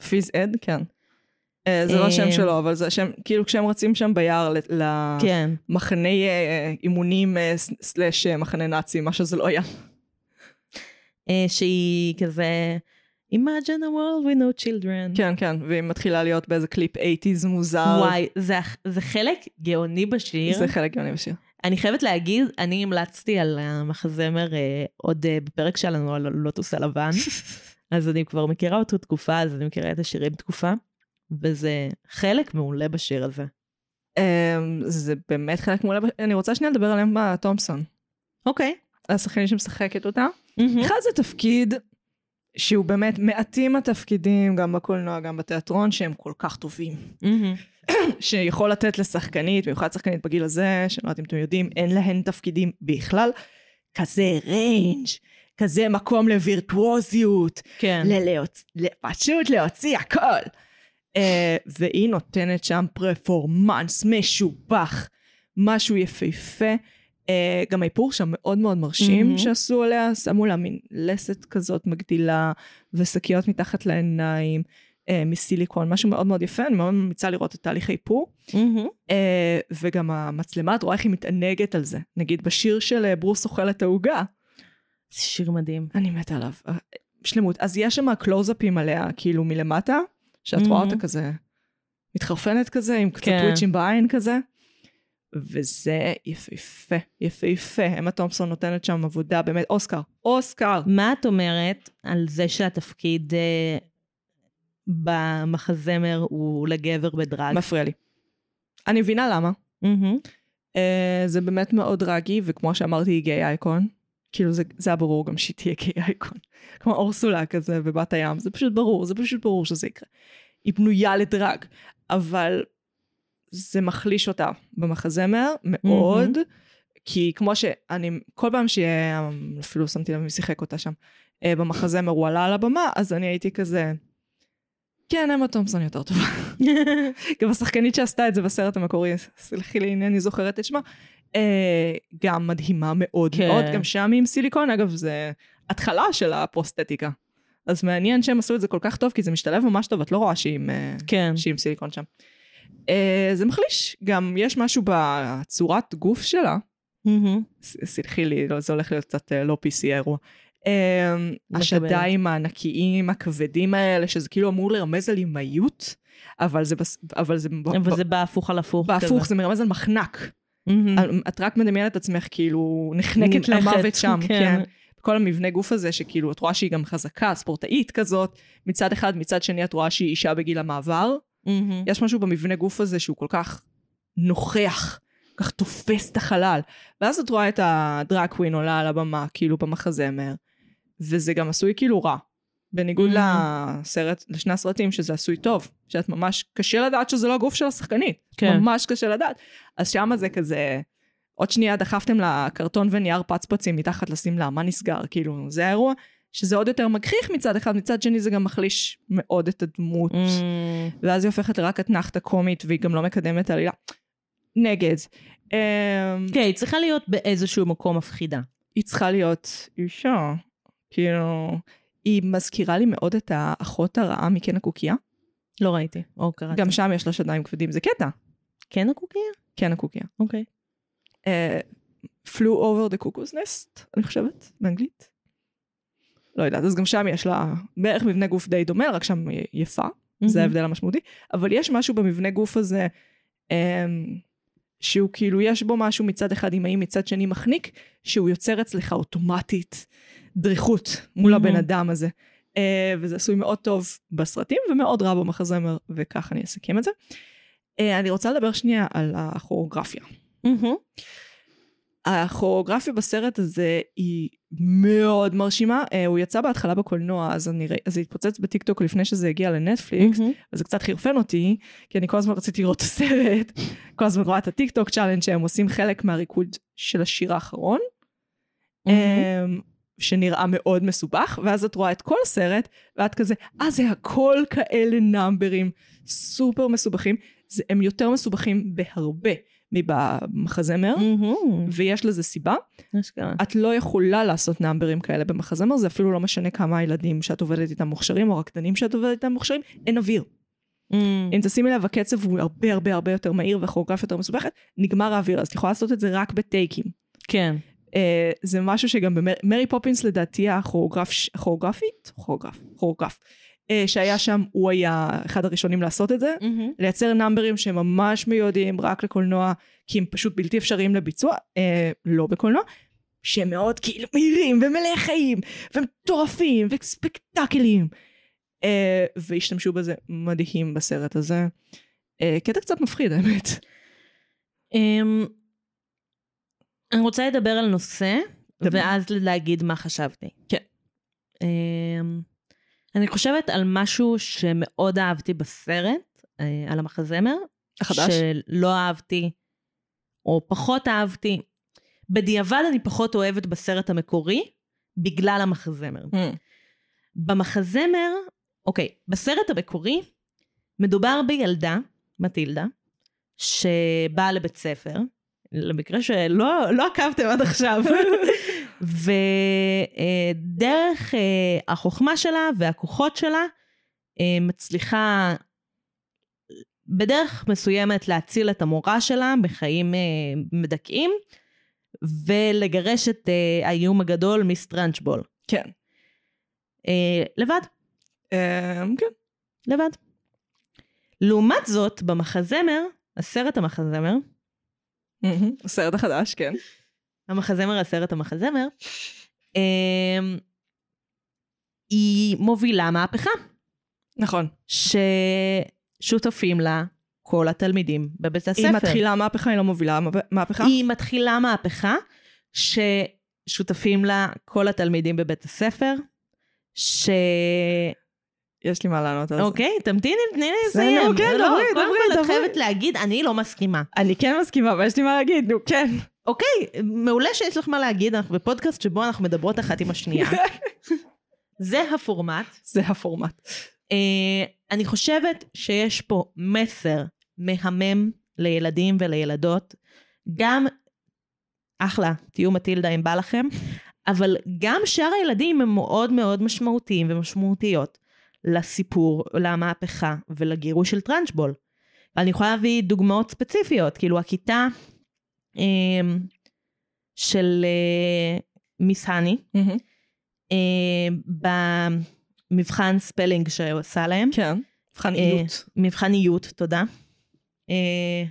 פיז אד, כן. אה, זה לא השם אה, שלו, אבל זה השם, כאילו כשהם רצים שם ביער ל- כן. למחנה אה, אימונים אה, ס- סלאש אה, מחנה נאצי, מה שזה לא היה. Mm-hmm. אה, שהיא כזה, Imagine a world with no children. כן, כן, והיא מתחילה להיות באיזה קליפ 80's מוזר. וואי, זה, זה חלק גאוני בשיר. זה חלק גאוני בשיר. אני חייבת להגיד, אני המלצתי על המחזמר אה, עוד אה, בפרק שלנו על הלוטוס הלבן, אז אני כבר מכירה אותו תקופה, אז אני מכירה את השירים תקופה, וזה חלק מעולה בשיר הזה. אמ, זה באמת חלק מעולה. בש- אני רוצה שנייה לדבר על אמה תומפסון. אוקיי. השחקנית שמשחקת אותה. Mm-hmm. אחד זה תפקיד שהוא באמת מעטים התפקידים, גם בקולנוע, גם בתיאטרון, שהם כל כך טובים. שיכול לתת לשחקנית, במיוחד שחקנית בגיל הזה, שאני לא יודעת אם אתם יודעים, אין להן תפקידים בכלל. כזה ריינג', כזה מקום לווירטואוזיות, כן. ללהוצ... ל- פשוט להוציא הכל. אה, והיא נותנת שם פרפורמנס משובח, משהו יפהפה. אה, גם האיפור שם מאוד מאוד מרשים מהמם. mm-hmm. שעשו עליה, שמו לה מין לסת כזאת מגדילה, ושקיות מתחת לעיניים, אה, מסיליקון, משהו מאוד מאוד יפה, אני מאוד ממליצה לראות את תהליך האיפור. מהמם. אה, וגם המצלמה, את רואה איך היא מתענגת על זה. נגיד בשיר של אה, ברוס אוכל את העוגה, זה שיר מדהים. אני מתה עליו. אה, שלמות. אז יש שם קלוזאפים עליה, כאילו מלמטה, שאת רואה אותה Mhm. כזה מתחרפנת כזה, עם קצת כן. טוויצ'ים בעין כזה. וזה יפהפה, יפהפה. אמה תומפסון נותנת שם עבודה, באמת, אוסקר, אוסקר. מה את אומרת על זה שהתפקיד אה, במחזמר הוא לגבר בדרג? מפריע לי. אני מבינה למה. מהמם. אה, זה באמת מאוד טרגי, וכמו שאמרתי, היא גיי אייקון. כאילו זה, זה היה ברור גם שהיא תהיה גיי אייקון. כמו אורסולה כזה בבת הים, זה פשוט ברור, זה פשוט ברור שזה יקרה. היא בנויה לדרג, אבל זה מחליש אותה במחזמר מאוד, כי כמו שאני, כל פעם שהיה, אפילו שמתי לב מי שיחק אותה שם, אה, במחזמר הוא עלה על הבמה, אז אני הייתי כזה, כן, אמה תומפסון יותר טובה. גם השחקנית שעשתה את זה בסרט המקורי, סלחי לי, אינני זוכרת את שמה, אה, גם מדהימה מאוד כן. כן. מאוד, גם שם היא עם סיליקון, אגב, זה התחלה של הפרוסטטיקה. אז מעניין שהם עשו את זה כל כך טוב, כי זה משתלב ממש טוב, את לא רואה שהיא עם, אה, כן. שהיא עם סיליקון שם. אה, זה מחליש, גם יש משהו בצורת גוף שלה, מהמם. ס- סלחי לי, לא, זה הולך להיות קצת אה, לא PC האירוע. אה, מקבלת. השדיים הענקיים, הכבדים האלה, שזה כאילו אמור לרמז על אימהיות, אבל זה, בס- אבל זה ב- אבל ב- זה בהפוך על הפוך. בהפוך, כזה. Mm. זה מרמז על מחנק. מהמם. על- את רק מדמיינת את עצמך כאילו נחנקת נמעכת, למוות שם, כן. כן. כל המבנה גוף הזה, שכאילו את רואה שהיא גם חזקה, ספורטאית כזאת, מצד אחד, מצד שני את רואה שהיא אישה בגיל המעבר. מהמם. יש משהו במבנה גוף הזה שהוא כל כך נוכח, כל כך תופס את החלל. ואז את רואה את הדראקווין עולה על הבמה, כאילו במחזמר, וזה גם עשוי כאילו רע. בניגוד Mhm. לסרט, לשני הסרטים, שזה עשוי טוב. שאת ממש, קשה לדעת שזה לא הגוף של השחקנית. כן. ממש קשה לדעת. אז שמה זה כזה, עוד שנייה דחפתם לה קרטון ונייר פצפצים מתחת לשמלה, מה נסגר? כאילו, זה האירוע שזה עוד יותר מגחיך מצד אחד, מצד שני זה גם מחליש מאוד את הדמות. Mm-hmm. ואז היא הופכת לרק אתנחתה קומית, והיא גם לא מקדמת עלילה. נגד. אמ, כן, היא צריכה להיות באיזשהו מקום מפחידה. היא צריכה להיות אישה. כאילו, היא מזכירה לי מאוד את האחות הרעה מקן הקוקייה. לא ראיתי, או קראתי. גם שם יש לה שדיים כבדים, זה קטע. כן הקוקייה? קן הקוקייה. אוקיי. אה, flew over the cuckoo's nest, אני חושבת, באנגלית. לא יודעת, אז גם שם יש לה בערך מבנה גוף די דומה, רק שם היא יפה, זה ההבדל המשמעותי. אבל יש משהו במבנה גוף הזה, אמ, שהוא כאילו, יש בו משהו מצד אחד אמאי, מצד שני מחניק, שהוא יוצר אצלך אוטומטית דריכות מול הבן Mhm. אדם הזה. אה, וזה עשוי מאוד טוב בסרטים, ומאוד רע במחזמר, וכך אני אסכם את זה. אה, אני רוצה לדבר שנייה על הכוריאוגרפיה. מהמם. Mm-hmm. הכוריאוגרפיה בסרט הזה היא מאוד מרשימה. אה, הוא יצא בהתחלה בקולנוע, אז אני ראי- אז זה התפוצץ בטיקטוק לפני שזה הגיע לנטפליקס, מהמם. אז זה קצת חרפן אותי, כי אני כל הזמן רציתי לראות את הסרט, כל הזמן רואה את הטיקטוק צ'אלנג' שהם עושים חלק מהריקוד של השיר האחרון, אמ, שנראה מאוד מסובך, ואז את רואה את כל הסרט, ואת כזה, אה, זה הכל כאלה נאמברים סופר מסובכים. זה, הם יותר מסובכים בהרבה מבמחזמר. מהמם. ויש לזה סיבה, Mm-hmm. אשכרה. את לא יכולה לעשות נאמברים כאלה במחזמר, זה אפילו לא משנה כמה הילדים שאת עובדת איתם מוכשרים, או רקדנים שאת עובדת איתם מוכשרים, אין אוויר. מהמם. אם תשימי לב, הקצב הוא הרבה הרבה הרבה יותר מהיר והכוריאוגרפיה יותר מסובכת, נגמר האוויר, אז את יכולה לעשות את זה רק בטייקים. כן. אה, זה משהו שגם במרי פופינס לדעתי הכוריאוגרף, ש- הכוריאוגרפית? כוריאוגרף, כוריאוגרף, אה, שהיה שם, הוא היה אחד הראשונים לעשות את זה. לייצר נאמברים שממש מיועדים רק לקולנוע, כי הם פשוט בלתי אפשריים לביצוע, אה, לא בקולנוע, שהם מאוד כאילו מהירים ומלאי חיים ומטורפים וספקטקלים. אה, והשתמשו בזה מדהים בסרט הזה. אה, קטע קצת מפחיד האמת. אמ, אני רוצה לדבר על נושא, דבר. ואז להגיד מה חשבתי. כן. אמ, אני חושבת על משהו שמאוד אהבתי בסרט, אה, על המחזמר. החדש? שלא אהבתי, או פחות אהבתי. בדיעבד אני פחות אוהבת בסרט המקורי, בגלל המחזמר. Mm, במחזמר, אוקיי, בסרט המקורי מדובר בילדה, מטילדה, שבאה לבית ספר, למקרה שלא לא עקבתם עד עכשיו, ודרך אה, החוכמה שלה והכוחות שלה אה, מצליחה בדרך מסוימת להציל את המורה שלה בחיים אה, מדכאים, ולגרש את אה, האיום הגדול מסטרנצ'בול. כן. אה, לבד. אה, כן. לבד. לעומת זאת, במחזמר, הסרט המחזמר, מהמם. הסרט החדש, כן. המחזמר, הסרט המחזמר, אמ, היא מובילה מהפכה, נכון. ששותפים לה כל התלמידים בבית הספר. היא מתחילה מהפכה, היא לא מובילה מה- מהפכה. היא מתחילה מהפכה ששותפים לה כל התלמידים בבית הספר, ש... יש לי מה לענות על זה. אוקיי, תמתיני, תני לי בסדר, לסיים. כן, לא, דברי, קודם דברי, כל את דברי. חייבת להגיד, אני לא מסכימה. אני כן מסכימה, אבל יש לי מה להגיד, נו, כן. אוקיי, מעולה שיש לך מה להגיד, אנחנו בפודקאסט שבו אנחנו מדברות אחת עם השנייה. זה הפורמט. זה הפורמט. אה, אני חושבת שיש פה מסר מהמם לילדים ולילדות. גם, אחלה, תהיו מטילדה אם בא לכם, אבל גם שאר הילדים הם מאוד מאוד משמעותיים ומשמעותיות לסיפור, למהפכה ולגירוש של טרנצ'בול. ואני יכולה להביא דוגמאות ספציפיות, כאילו הכיתה אה, של אה, מיס האני, אה, במבחן ספלינג שעושה להם. כן. מבחן אה, איות. מבחן איות, תודה. אה,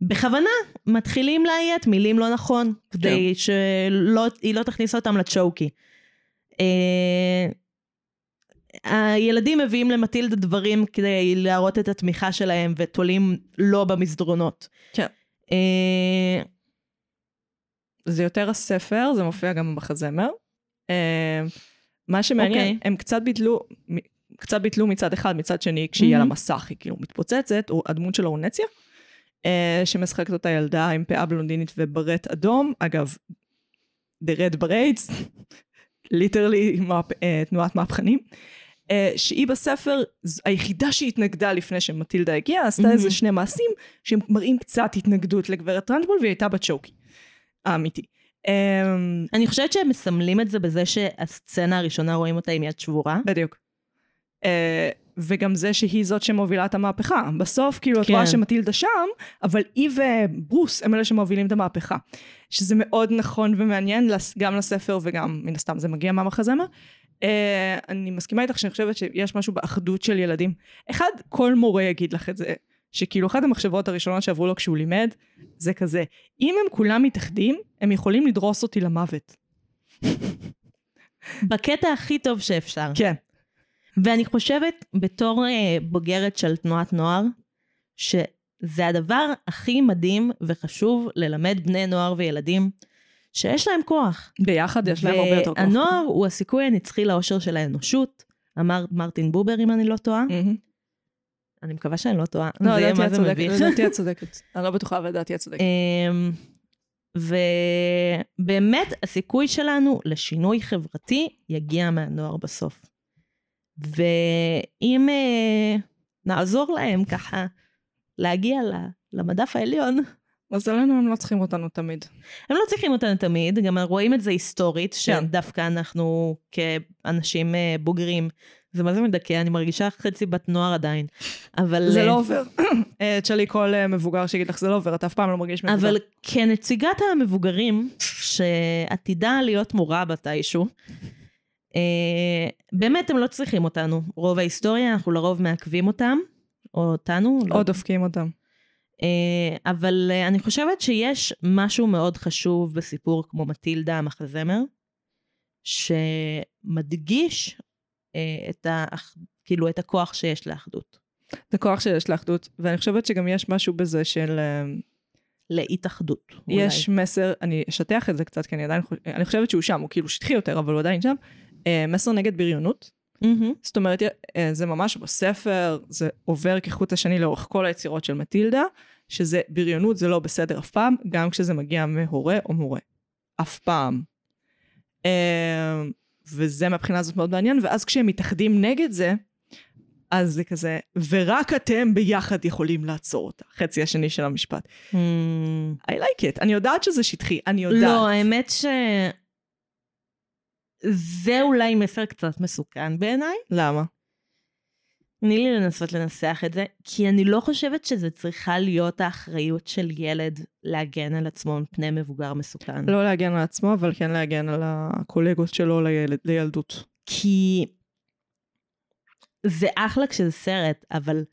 בכוונה מתחילים לאיית מילים לא נכון, כדי שהיא לא תכניס אותם לצ'וקי. אה, הילדים מביאים למטילדה דברים כדי להראות את התמיכה שלהם ותולים לא במסדרונות. כן. אה, זה יותר הספר, זה מופיע גם במחזמר. אה, מה שמעניין, אוקיי. הם קצת ביטלו, מ- קצת ביטלו מצד אחד, מצד שני, כשהיא על מהמם. המסך, היא כאילו מתפוצצת, הוא- הדמות שלו הוא נציה. אה, שמשחקת אותה ילדה עם פאה בלונדינית וברט אדום. אגב, The Red Braids, ליטרלי מהפ... אה, תנועת מהפכנים. אה, שהיא בספר ז- היחידה שהתנגדה לפני שמטילדה הגיעה, עשתה איזה שני מעשים שמראים קצת התנגדות לגברת טרנדבול, והיא הייתה בצ'וקי. האמיתי. אמ, אני חושבת שהם מסמלים את זה בזה שהסצנה הראשונה רואים אותה עם יד שבורה. בדיוק. אה, וגם זה שהיא זאת שמובילה את המהפכה. בסוף, כאילו, את כן. רואה שמטילדה שם, אבל היא וברוס הם אלה שמובילים את המהפכה. שזה מאוד נכון ומעניין, לס- גם לספר וגם, מן הסתם, זה מגיע מהמחזמר. אה, אני מסכימה איתך שאני חושבת שיש משהו באחדות של ילדים. אחד, כל מורה יגיד לך את זה, שכאילו אחת המחשבות הראשונות שעברו לו כשהוא לימד, זה כזה, אם הם כולם מתאחדים, הם יכולים לדרוס אותי למוות. בקטע הכי טוב שאפשר. כן. ואני חושבת, בתור אה, בוגרת של תנועת נוער, שזה הדבר הכי מדהים וחשוב ללמד בני נוער וילדים, שיש להם כוח. ביחד יש להם הרבה יותר כוח. והנוער הוא הסיכוי הנצחי לאושר של האנושות, אמר מרטין בובר, אם אני לא טועה. מהמם. אני מקווה שאני לא טועה. Mm. לא, זה יהיה לדעתי מה את זה צודקת, מביך. לדעתי את צודקת. אני לא בטוחה, אבל לדעתי את צודקת. אמ, ובאמת הסיכוי שלנו לשינוי חברתי יגיע מהנוער בסוף. ואם אה, נעזור להם ככה להגיע ל- למדף העליון, מזלנו הם לא צריכים אותנו תמיד. הם לא צריכים אותנו תמיד, גם רואים את זה היסטורית, כן. שדווקא אנחנו כאנשים אה, בוגרים, זה מה זה מדכא, אני מרגישה חצי בת נוער עדיין, אבל... זה אה, לא עובר. אה, תשאלי כל אה, מבוגר שיגיד לך, זה לא עובר, אתה אף פעם לא מרגיש מבוגר. אבל כנציגת המבוגרים, שעתידה להיות מורה מתישהו, אה, באמת הם לא צריכים אותנו. רוב ההיסטוריה, אנחנו לרוב מעכבים אותם, או אותנו. לא. או דופקים אותם. אה, אבל אה, אני חושבת שיש משהו מאוד חשוב בסיפור כמו מטילדה המחזמר, שמדגיש אה, את, האח, כאילו, את הכוח שיש לאחדות, זה כוח שיש לאחדות, ואני חושבת שגם יש משהו בזה של... אה, להתאחדות. אולי. יש מסר, אני אשטח את זה קצת, כי אני עדיין חושבת, אני חושבת שהוא שם, הוא כאילו שטחי יותר, אבל הוא עדיין שם. אה, מסר נגד בריונות. מהמם. זאת אומרת, אה, זה ממש בספר, זה עובר כחוט השני לאורך כל היצירות של מטילדה, שזה בריונות זה לא בסדר אף פעם, גם כשזה מגיע מהורה או מורה. אף פעם. אה, וזה מהבחינה הזאת מאוד מעניין, ואז כשהם מתאחדים נגד זה, אז זה כזה, ורק אתם ביחד יכולים לעצור אותה. חצי השני של המשפט. Mm. I like it. אני יודעת שזה שטחי, אני יודעת. לא, האמת ש... זה אולי מסר קצת מסוכן בעיניי. למה? תני לי לנסות לנסח את זה, כי אני לא חושבת שזה צריכה להיות האחריות של ילד להגן על עצמו מפני מבוגר מסוכן. לא להגן על עצמו, אבל כן להגן על הקולגות שלו לילד, לילדות. כי זה אחלה כשזה סרט, אבל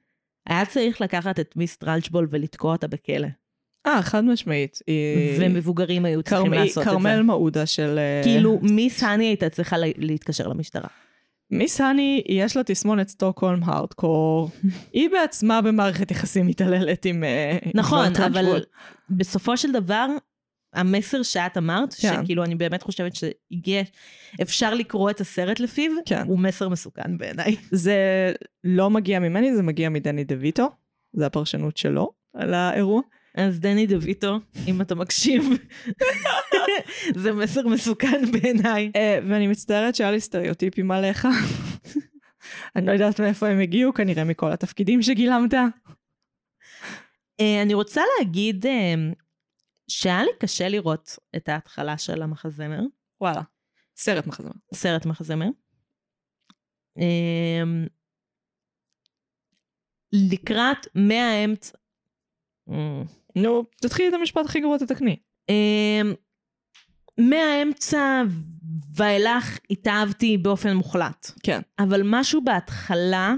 היה צריך לקחת את מיס טרלצ'בול ולתקוע אותה בכלא. אה, חד משמעית. היא- ומבוגרים היו צריכים כרמי- לעשות את אה, כרמל זה. מעודה של... אה, כאילו, מיס האני הייתה צריכה לה- להתקשר למשטרה. מיס האני, יש לה תסמונת סטוקהולם הארדקור. היא בעצמה במערכת יחסים מתעללת עם... אה, עם נכון, גברת אבל רנדבול. בסופו של דבר, המסר שאת אמרת, כן. שכאילו אני באמת חושבת שהגיע, אפשר לקרוא את הסרט לפיו, כן. הוא מסר מסוכן בעיניי. זה לא מגיע ממני, זה מגיע מדני דויטו. זה הפרשנות שלו על האירוע. אז דני דויטו, אם אתה מקשיב, זה מסר מסוכן בעיניי. אה, ואני מצטערת שהיה לי סטריאוטיפים עליך. אני לא יודעת מאיפה הם הגיעו, כנראה מכל התפקידים שגילמת. אה, אני רוצה להגיד אה, שהיה לי קשה לראות את ההתחלה של המחזמר, וואלה. סרט מחזמר. סרט מחזמר. אה, לקראת מהאמצע, אה, נו, תתחילי את המשפט הכי גרוע, תתקני. אמ, מהאמצע ואילך התאהבתי באופן מוחלט. כן. אבל משהו בהתחלה,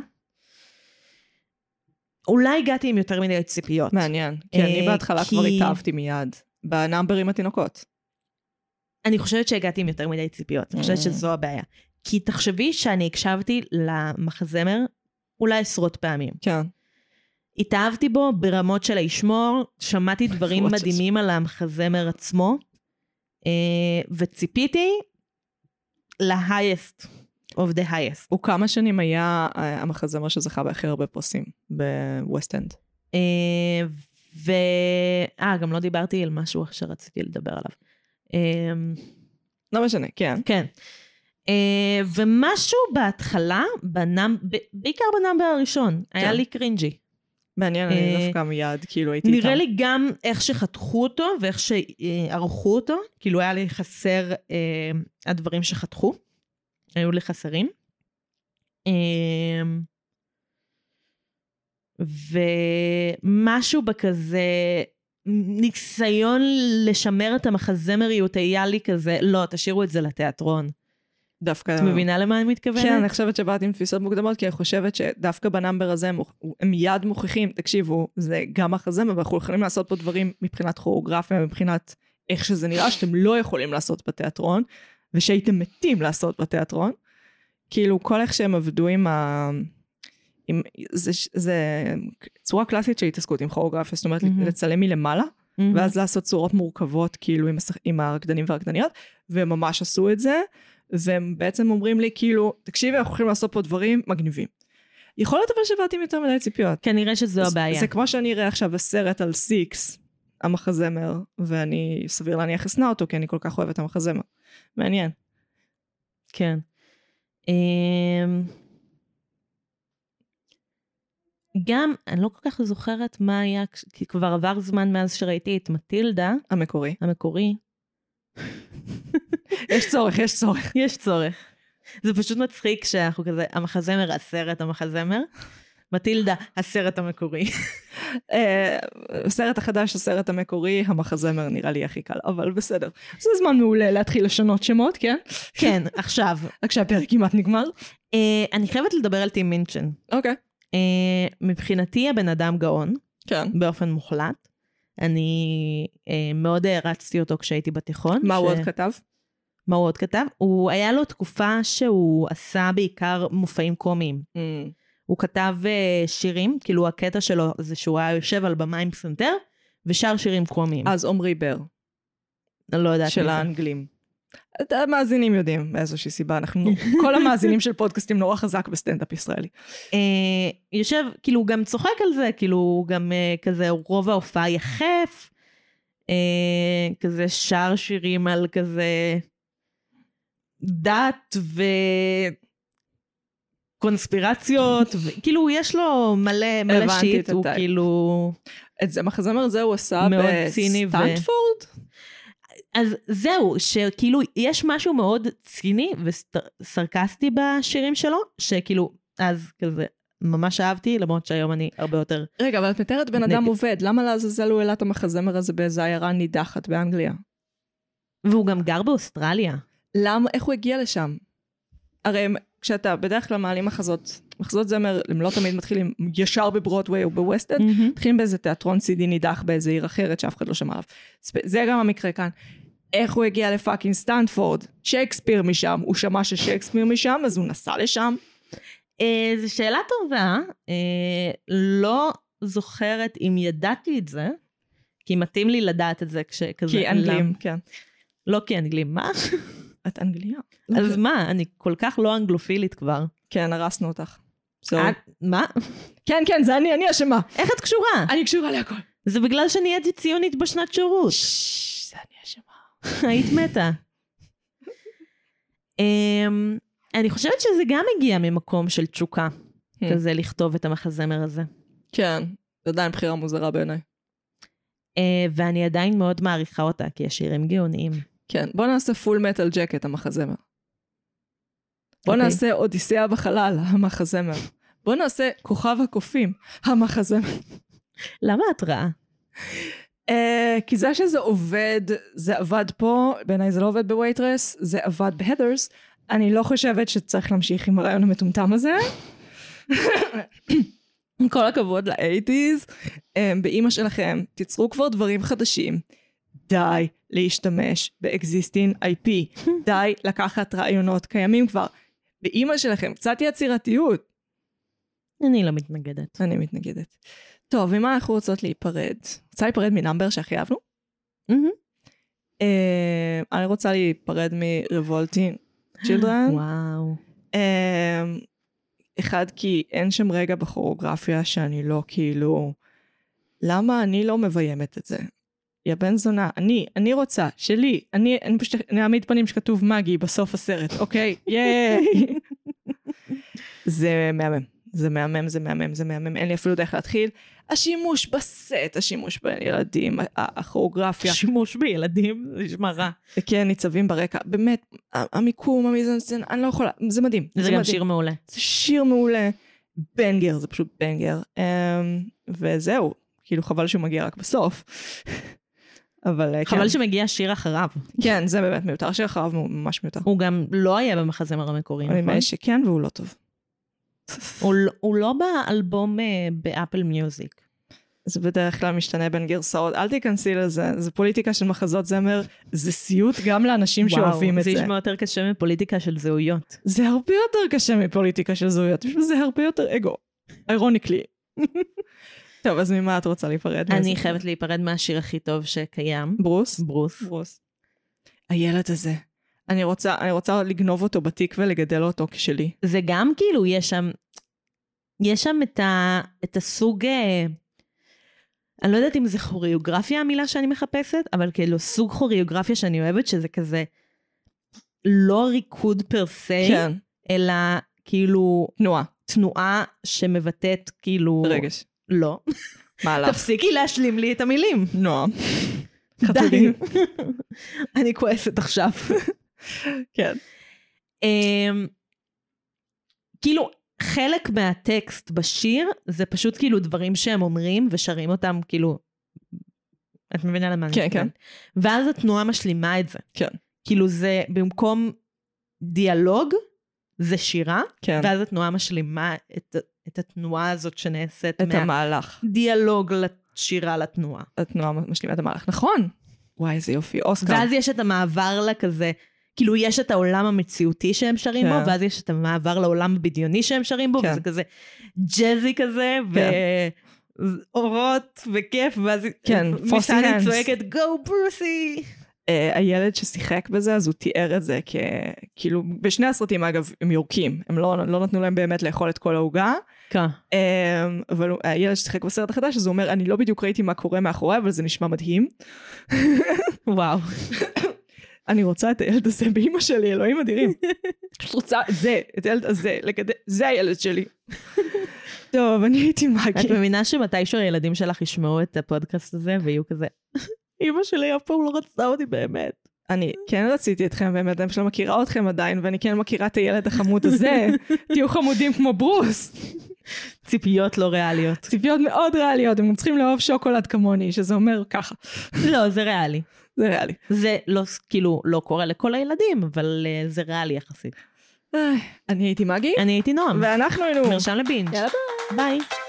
אולי הגעתי עם יותר מדי ציפיות. מעניין. כי אני אה, בהתחלה כי- כבר התאהבתי מיד. בנאמבר עם התינוקות. אני חושבת שהגעתי עם יותר מדי ציפיות, אני חושבת Mm. שזו הבעיה. כי תחשבי שאני הקשבתי למחזמר אולי עשרות פעמים. כן. התאהבתי בו ברמות של הישמור, שמעתי דברים ברמות של מדהימים על המחזמר עצמו, אה, וציפיתי ל-highest of the highest. הוא כמה שנים היה אה, המחזמר שזכה בהכי הרבה פרסים בווסט אנד. אה, ו... אה, גם לא דיברתי על משהו שרציתי לדבר עליו. אמ, לא משנה, כן. כן. אה, ומשהו בהתחלה, בנאמ... ב- בעיקר בנאמבר הראשון, היה כן. לי קרינג'י. מעניין, אה, אני דווקא מיד, כאילו הייתי איתם. נראה לי גם איך שחתכו אותו ואיך שערכו אותו, כאילו היה לי חסר אה, הדברים שחתכו, היו לי חסרים. אה, ומשהו בכזה ניסיון לשמר את המחזמריות היה לי כזה, לא, תשאירו את זה לתיאטרון. דווקא... את מבינה למה אני מתכוונת? כן, אני חושבת שבאת עם תפיסות מוקדמות, כי אני חושבת שדווקא בנאמבר הזה הם מוכ- הם מיד מוכיחים, תקשיבו, זה גם החזמר, ואנחנו יכולים לעשות פה דברים מבחינת כוריאוגרפיה, מבחינת איך שזה נראה, שאתם לא יכולים לעשות בתיאטרון, ושהייתם מתים לעשות בתיאטרון. כאילו, כל איך שהם עבדו עם ה... עם... זה, זה צורה קלאסית של התעסקות עם כוריאוגרפיה, זאת אומרת, מהמם. לצלם מלמעלה, מהמם. ואז לעשות צורות מורכבות כאילו עם, השח... עם הרקדנים והרקדניות, והם ממש עשו את זה, והם בעצם אומרים לי כאילו, תקשיבי, אנחנו הולכים לעשות פה דברים מגניבים. יכול להיות אבל שבאתי עם יותר מדי ציפיות. כנראה שזו זה- הבעיה. זה כמו שאני אראה עכשיו הסרט על סיקס, המחזמר, ואני סביר להניח אשנא אותו, כי אני כל כך אוהבת את המחזמר. מעניין. כן. אמ, גם, אני לא כל כך זוכרת מה היה, כש- כי כבר עבר זמן מאז שראיתי את מטילדה המקורי. המקורי. יש צורך, יש צורך. יש צורך. זה פשוט מצחיק שאנחנו כזה, המחזמר, הסרט, המחזמר. מטילדה, הסרט המקורי. אה, הסרט החדש, הסרט המקורי, המחזמר נראה לי הכי קל, אבל בסדר. זה זמן מעולה להתחיל לשנות שמות, כן? כן, עכשיו. רק שהפרק כמעט נגמר. אה, אני חייבת לדבר על טים מינצ'ן. אוקיי. אה, מבחינתי הבן אדם גאון. כן. באופן מוחלט. אני אה, מאוד הערצתי אותו כשהייתי בתיכון. מה ש- הוא עוד כתב? מה הוא עוד כתב? הוא, היה לו תקופה שהוא עשה בעיקר מופעים קומיים. הוא כתב אה, שירים, כאילו הקטע שלו זה שהוא היה יושב על במה עם פסנתר, ושר שירים קומיים. אז עמרי בר, אני לא יודעת אה, של מי זה. האנגלים. את המאזינים יודעים מאיזושהי סיבה, אנחנו, כל המאזינים של פודקאסטים נורא חזק בסטנדאפ ישראלי. אה, יושב, כאילו, הוא גם צוחק על זה, כאילו, הוא גם אה, כזה, רוב ההופעה יחף, אה, כזה שר שירים על כזה דת וקונספירציות, ו... כאילו, יש לו מלא, מלא הבנתי את שיט, הוא הטייפ. כאילו... את זה, המחזמר הזה הוא עשה מאוד ציני ו- בסטנדפורד? אז זהו, שכאילו, יש משהו מאוד ציני וסרקסטי בשירים שלו, שכאילו, אז כזה, ממש אהבתי, למרות שהיום אני הרבה יותר... רגע, אבל את מתארת בן אדם נגד. עובד, למה לעזאזל הוא העלה את המחזמר הזה באיזה עיירה נידחת באנגליה? והוא גם גר באוסטרליה. למה, איך הוא הגיע לשם? הרי הם- כשאתה בדרך כלל מעלים מחזות, מחזות זמר, הם לא תמיד מתחילים ישר בברודוויי או בווסט אנד, מתחילים באיזה תיאטרון סידי נידח באיזה עיר אחרת שאף אחד לא שמע עליו. ספ- זה גם המקרה כאן. איך הוא הגיע לפאקינג סטנפורד? שייקספיר משם. הוא שמע ששייקספיר משם, אז הוא נסע לשם. אה, זו שאלה טובה. אה, לא זוכרת אם ידעתי את זה, כי מתאים לי לדעת את זה כשכזה... כי אנגלים, כן. לא כי אנגלים, מה? את אנגליה. אוקיי. אז מה, אני כל כך לא אנגלופילית כבר. כן, הרסנו אותך. סורי. את- מה? כן, כן, זה אני, אני אשמה. איך את קשורה? אני קשורה להכל. זה בגלל שנהייתי ציונית בשנת שירות. זה אני אשמה. היית מתה. אמ, אני חושבת שזה גם הגיע ממקום של תשוקה, Hmm. כזה לכתוב את המחזמר הזה. כן, זה עדיין בחירה מוזרה בעיניי. אה, ואני עדיין מאוד מעריכה אותה, כי השירים גאוניים. כן, בוא נעשה פול מטל ג'קט, המחזמר. בוא אוקיי. נעשה אודיסיאה בחלל, המחזמר. בוא נעשה כוכב הקופים, המחזמר. למה את רעה? אה, כי זה שזה עובד, זה עבד פה, בעיניי זה לא עובד בווייטרס, זה עבד בהדרס. אני לא חושבת שצריך להמשיך עם הרעיון המטומטם הזה. עם כל הכבוד לאייטיז, אה, באימא שלכם, תיצרו כבר דברים חדשים. די להשתמש באקזיסטין IP. די לקחת רעיונות קיימים כבר. באימא שלכם, קצת יצירתיות. אני לא מתנגדת. אני מתנגדת. טוב, ממה אנחנו רוצות להיפרד? רוצה להיפרד מנאמבר שהכי אהבנו? מהמם. אה, אני רוצה להיפרד מרבולטין כן? צ'ילדרן. וואו. אמ, אחד, כי אין שם רגע בכוריאוגרפיה שאני לא כאילו למה אני לא מביימת את זה? יא בן זונה, אני, אני רוצה, שלי, אני, אני פשוט נעמיד פנים שכתוב מגי בסוף הסרט, אוקיי? ייי! זה מהמם. זה מהמם, זה מהמם, זה מהמם, אין לי אפילו דרך להתחיל. השימוש בסט, השימוש בילדים, ה- הכוריאוגרפיה, שימוש בילדים, זה נשמע רע. כן, ניצבים ברקע, באמת, ה- המיקום, המיזנסצן, אני לא יכולה, זה מדהים. זה כן. גם מדהים. שיר מעולה. זה שיר מעולה, בנגר, זה פשוט בנגר. Um, וזהו, כאילו חבל שהוא מגיע רק בסוף. אבל אה, כן, חבל שמגיע שיר אחריו. כן, זה באמת מיותר, שיר אחריו הוא ממש מיותר. הוא גם לא היה במחזמר המקורי, אני נכון? מאמין שכן והוא לא טוב. הוא לא- הוא לא באלבום אה, באפל מיוזיק. זה בדרך כלל משתנה בין גרסאות, אל תיכנסי לזה, זה פוליטיקה של מחזות זמר, זה סיוט גם לאנשים שאוהבים את זה זה. נשמע יותר קשה מפוליטיקה של זהויות. זה הרבה יותר קשה מפוליטיקה של זהויות, יש בזה הרבה יותר אגו, אירוניקלי. טוב, אז ממה את רוצה להיפרד? אני מאיזה- חייבת להיפרד מהשיר הכי טוב שקיים, ברוס? ברוס. ברוס. הילד הזה. אני רוצה, אני רוצה לגנוב אותו בתיק ולגדל אותו כשלי. זה גם כאילו, יש שם, יש שם את, ה, את הסוג, אה, אני לא יודעת אם זה כוריאוגרפיה המילה שאני מחפשת, אבל כאילו סוג כוריאוגרפיה שאני אוהבת, שזה כזה לא ריקוד פר סי, כן. אלא כאילו תנועה. תנועה שמבטאת כאילו... רגש. לא. מהלך. תפסיקי להשלים לי את המילים. נועה. די. חתולים. אני כועסת עכשיו. כן. אמ, כאילו, חלק מהטקסט בשיר זה פשוט כאילו דברים שהם אומרים ושרים אותם, כאילו... את מבינה למה אני כן, מתכוונת? ואז התנועה משלימה את זה. כן. כאילו זה במקום דיאלוג, זה שירה, כן. ואז התנועה משלימה את, את התנועה הזאת שנעשית את המהלך. מהדיאלוג לשירה לתנועה. התנועה משלימה את המהלך. נכון. וואי, איזה יופי. אוסקר. ואז יש את המעבר לכזה, כאילו יש את העולם המציאותי שהם שרים כן. בו, ואז יש את המעבר לעולם הבדיוני שהם שרים בו, כן. וזה כזה ג'אזי כזה, כן. ואורות וכיף, ואז כן, פוסי מיסני הנדס. צועקת גו ברוסי. אה, הילד ששיחק בזה, אז הוא תיאר את זה כ... כאילו, בשני הסרטים אגב, הם יורקים. הם לא, לא נתנו להם באמת לאכול את כל העוגה. כן. אמ, אבל הוא- הילד ששיחק בסרט החדש, אז הוא אומר, אני לא בדיוק ראיתי מה קורה מאחורי, אבל זה נשמע מדהים. וואו. אני רוצה את הילד הזה באימא שלי, אלוהים אדירים. פשוט רוצה את זה, את הילד הזה, לגדל, זה הילד שלי. טוב, אני הייתי את מגי. מבינה שמתישהו הילדים שלך ישמעו את הפודקאסט הזה ויהיו כזה, אמא שלי אף פעם לא רצתה אותי באמת. אני כן רציתי אתכם באמת, אני פשוט לא מכירה אתכם עדיין, ואני כן מכירה את הילד החמוד הזה. תהיו חמודים כמו ברוס. ציפיות לא ריאליות. ציפיות מאוד ריאליות, הם גם צריכים לאהוב שוקולד כמוני, שזה אומר ככה. לא, זה ריאלי. זה ריאלי. זה לא, כאילו, לא קורה לכל הילדים, אבל אה, זה ריאלי יחסית. איי, אני הייתי מגי, אני הייתי נועם. ואנחנו היינו... מרשם לבינג'. יאללה, ביי.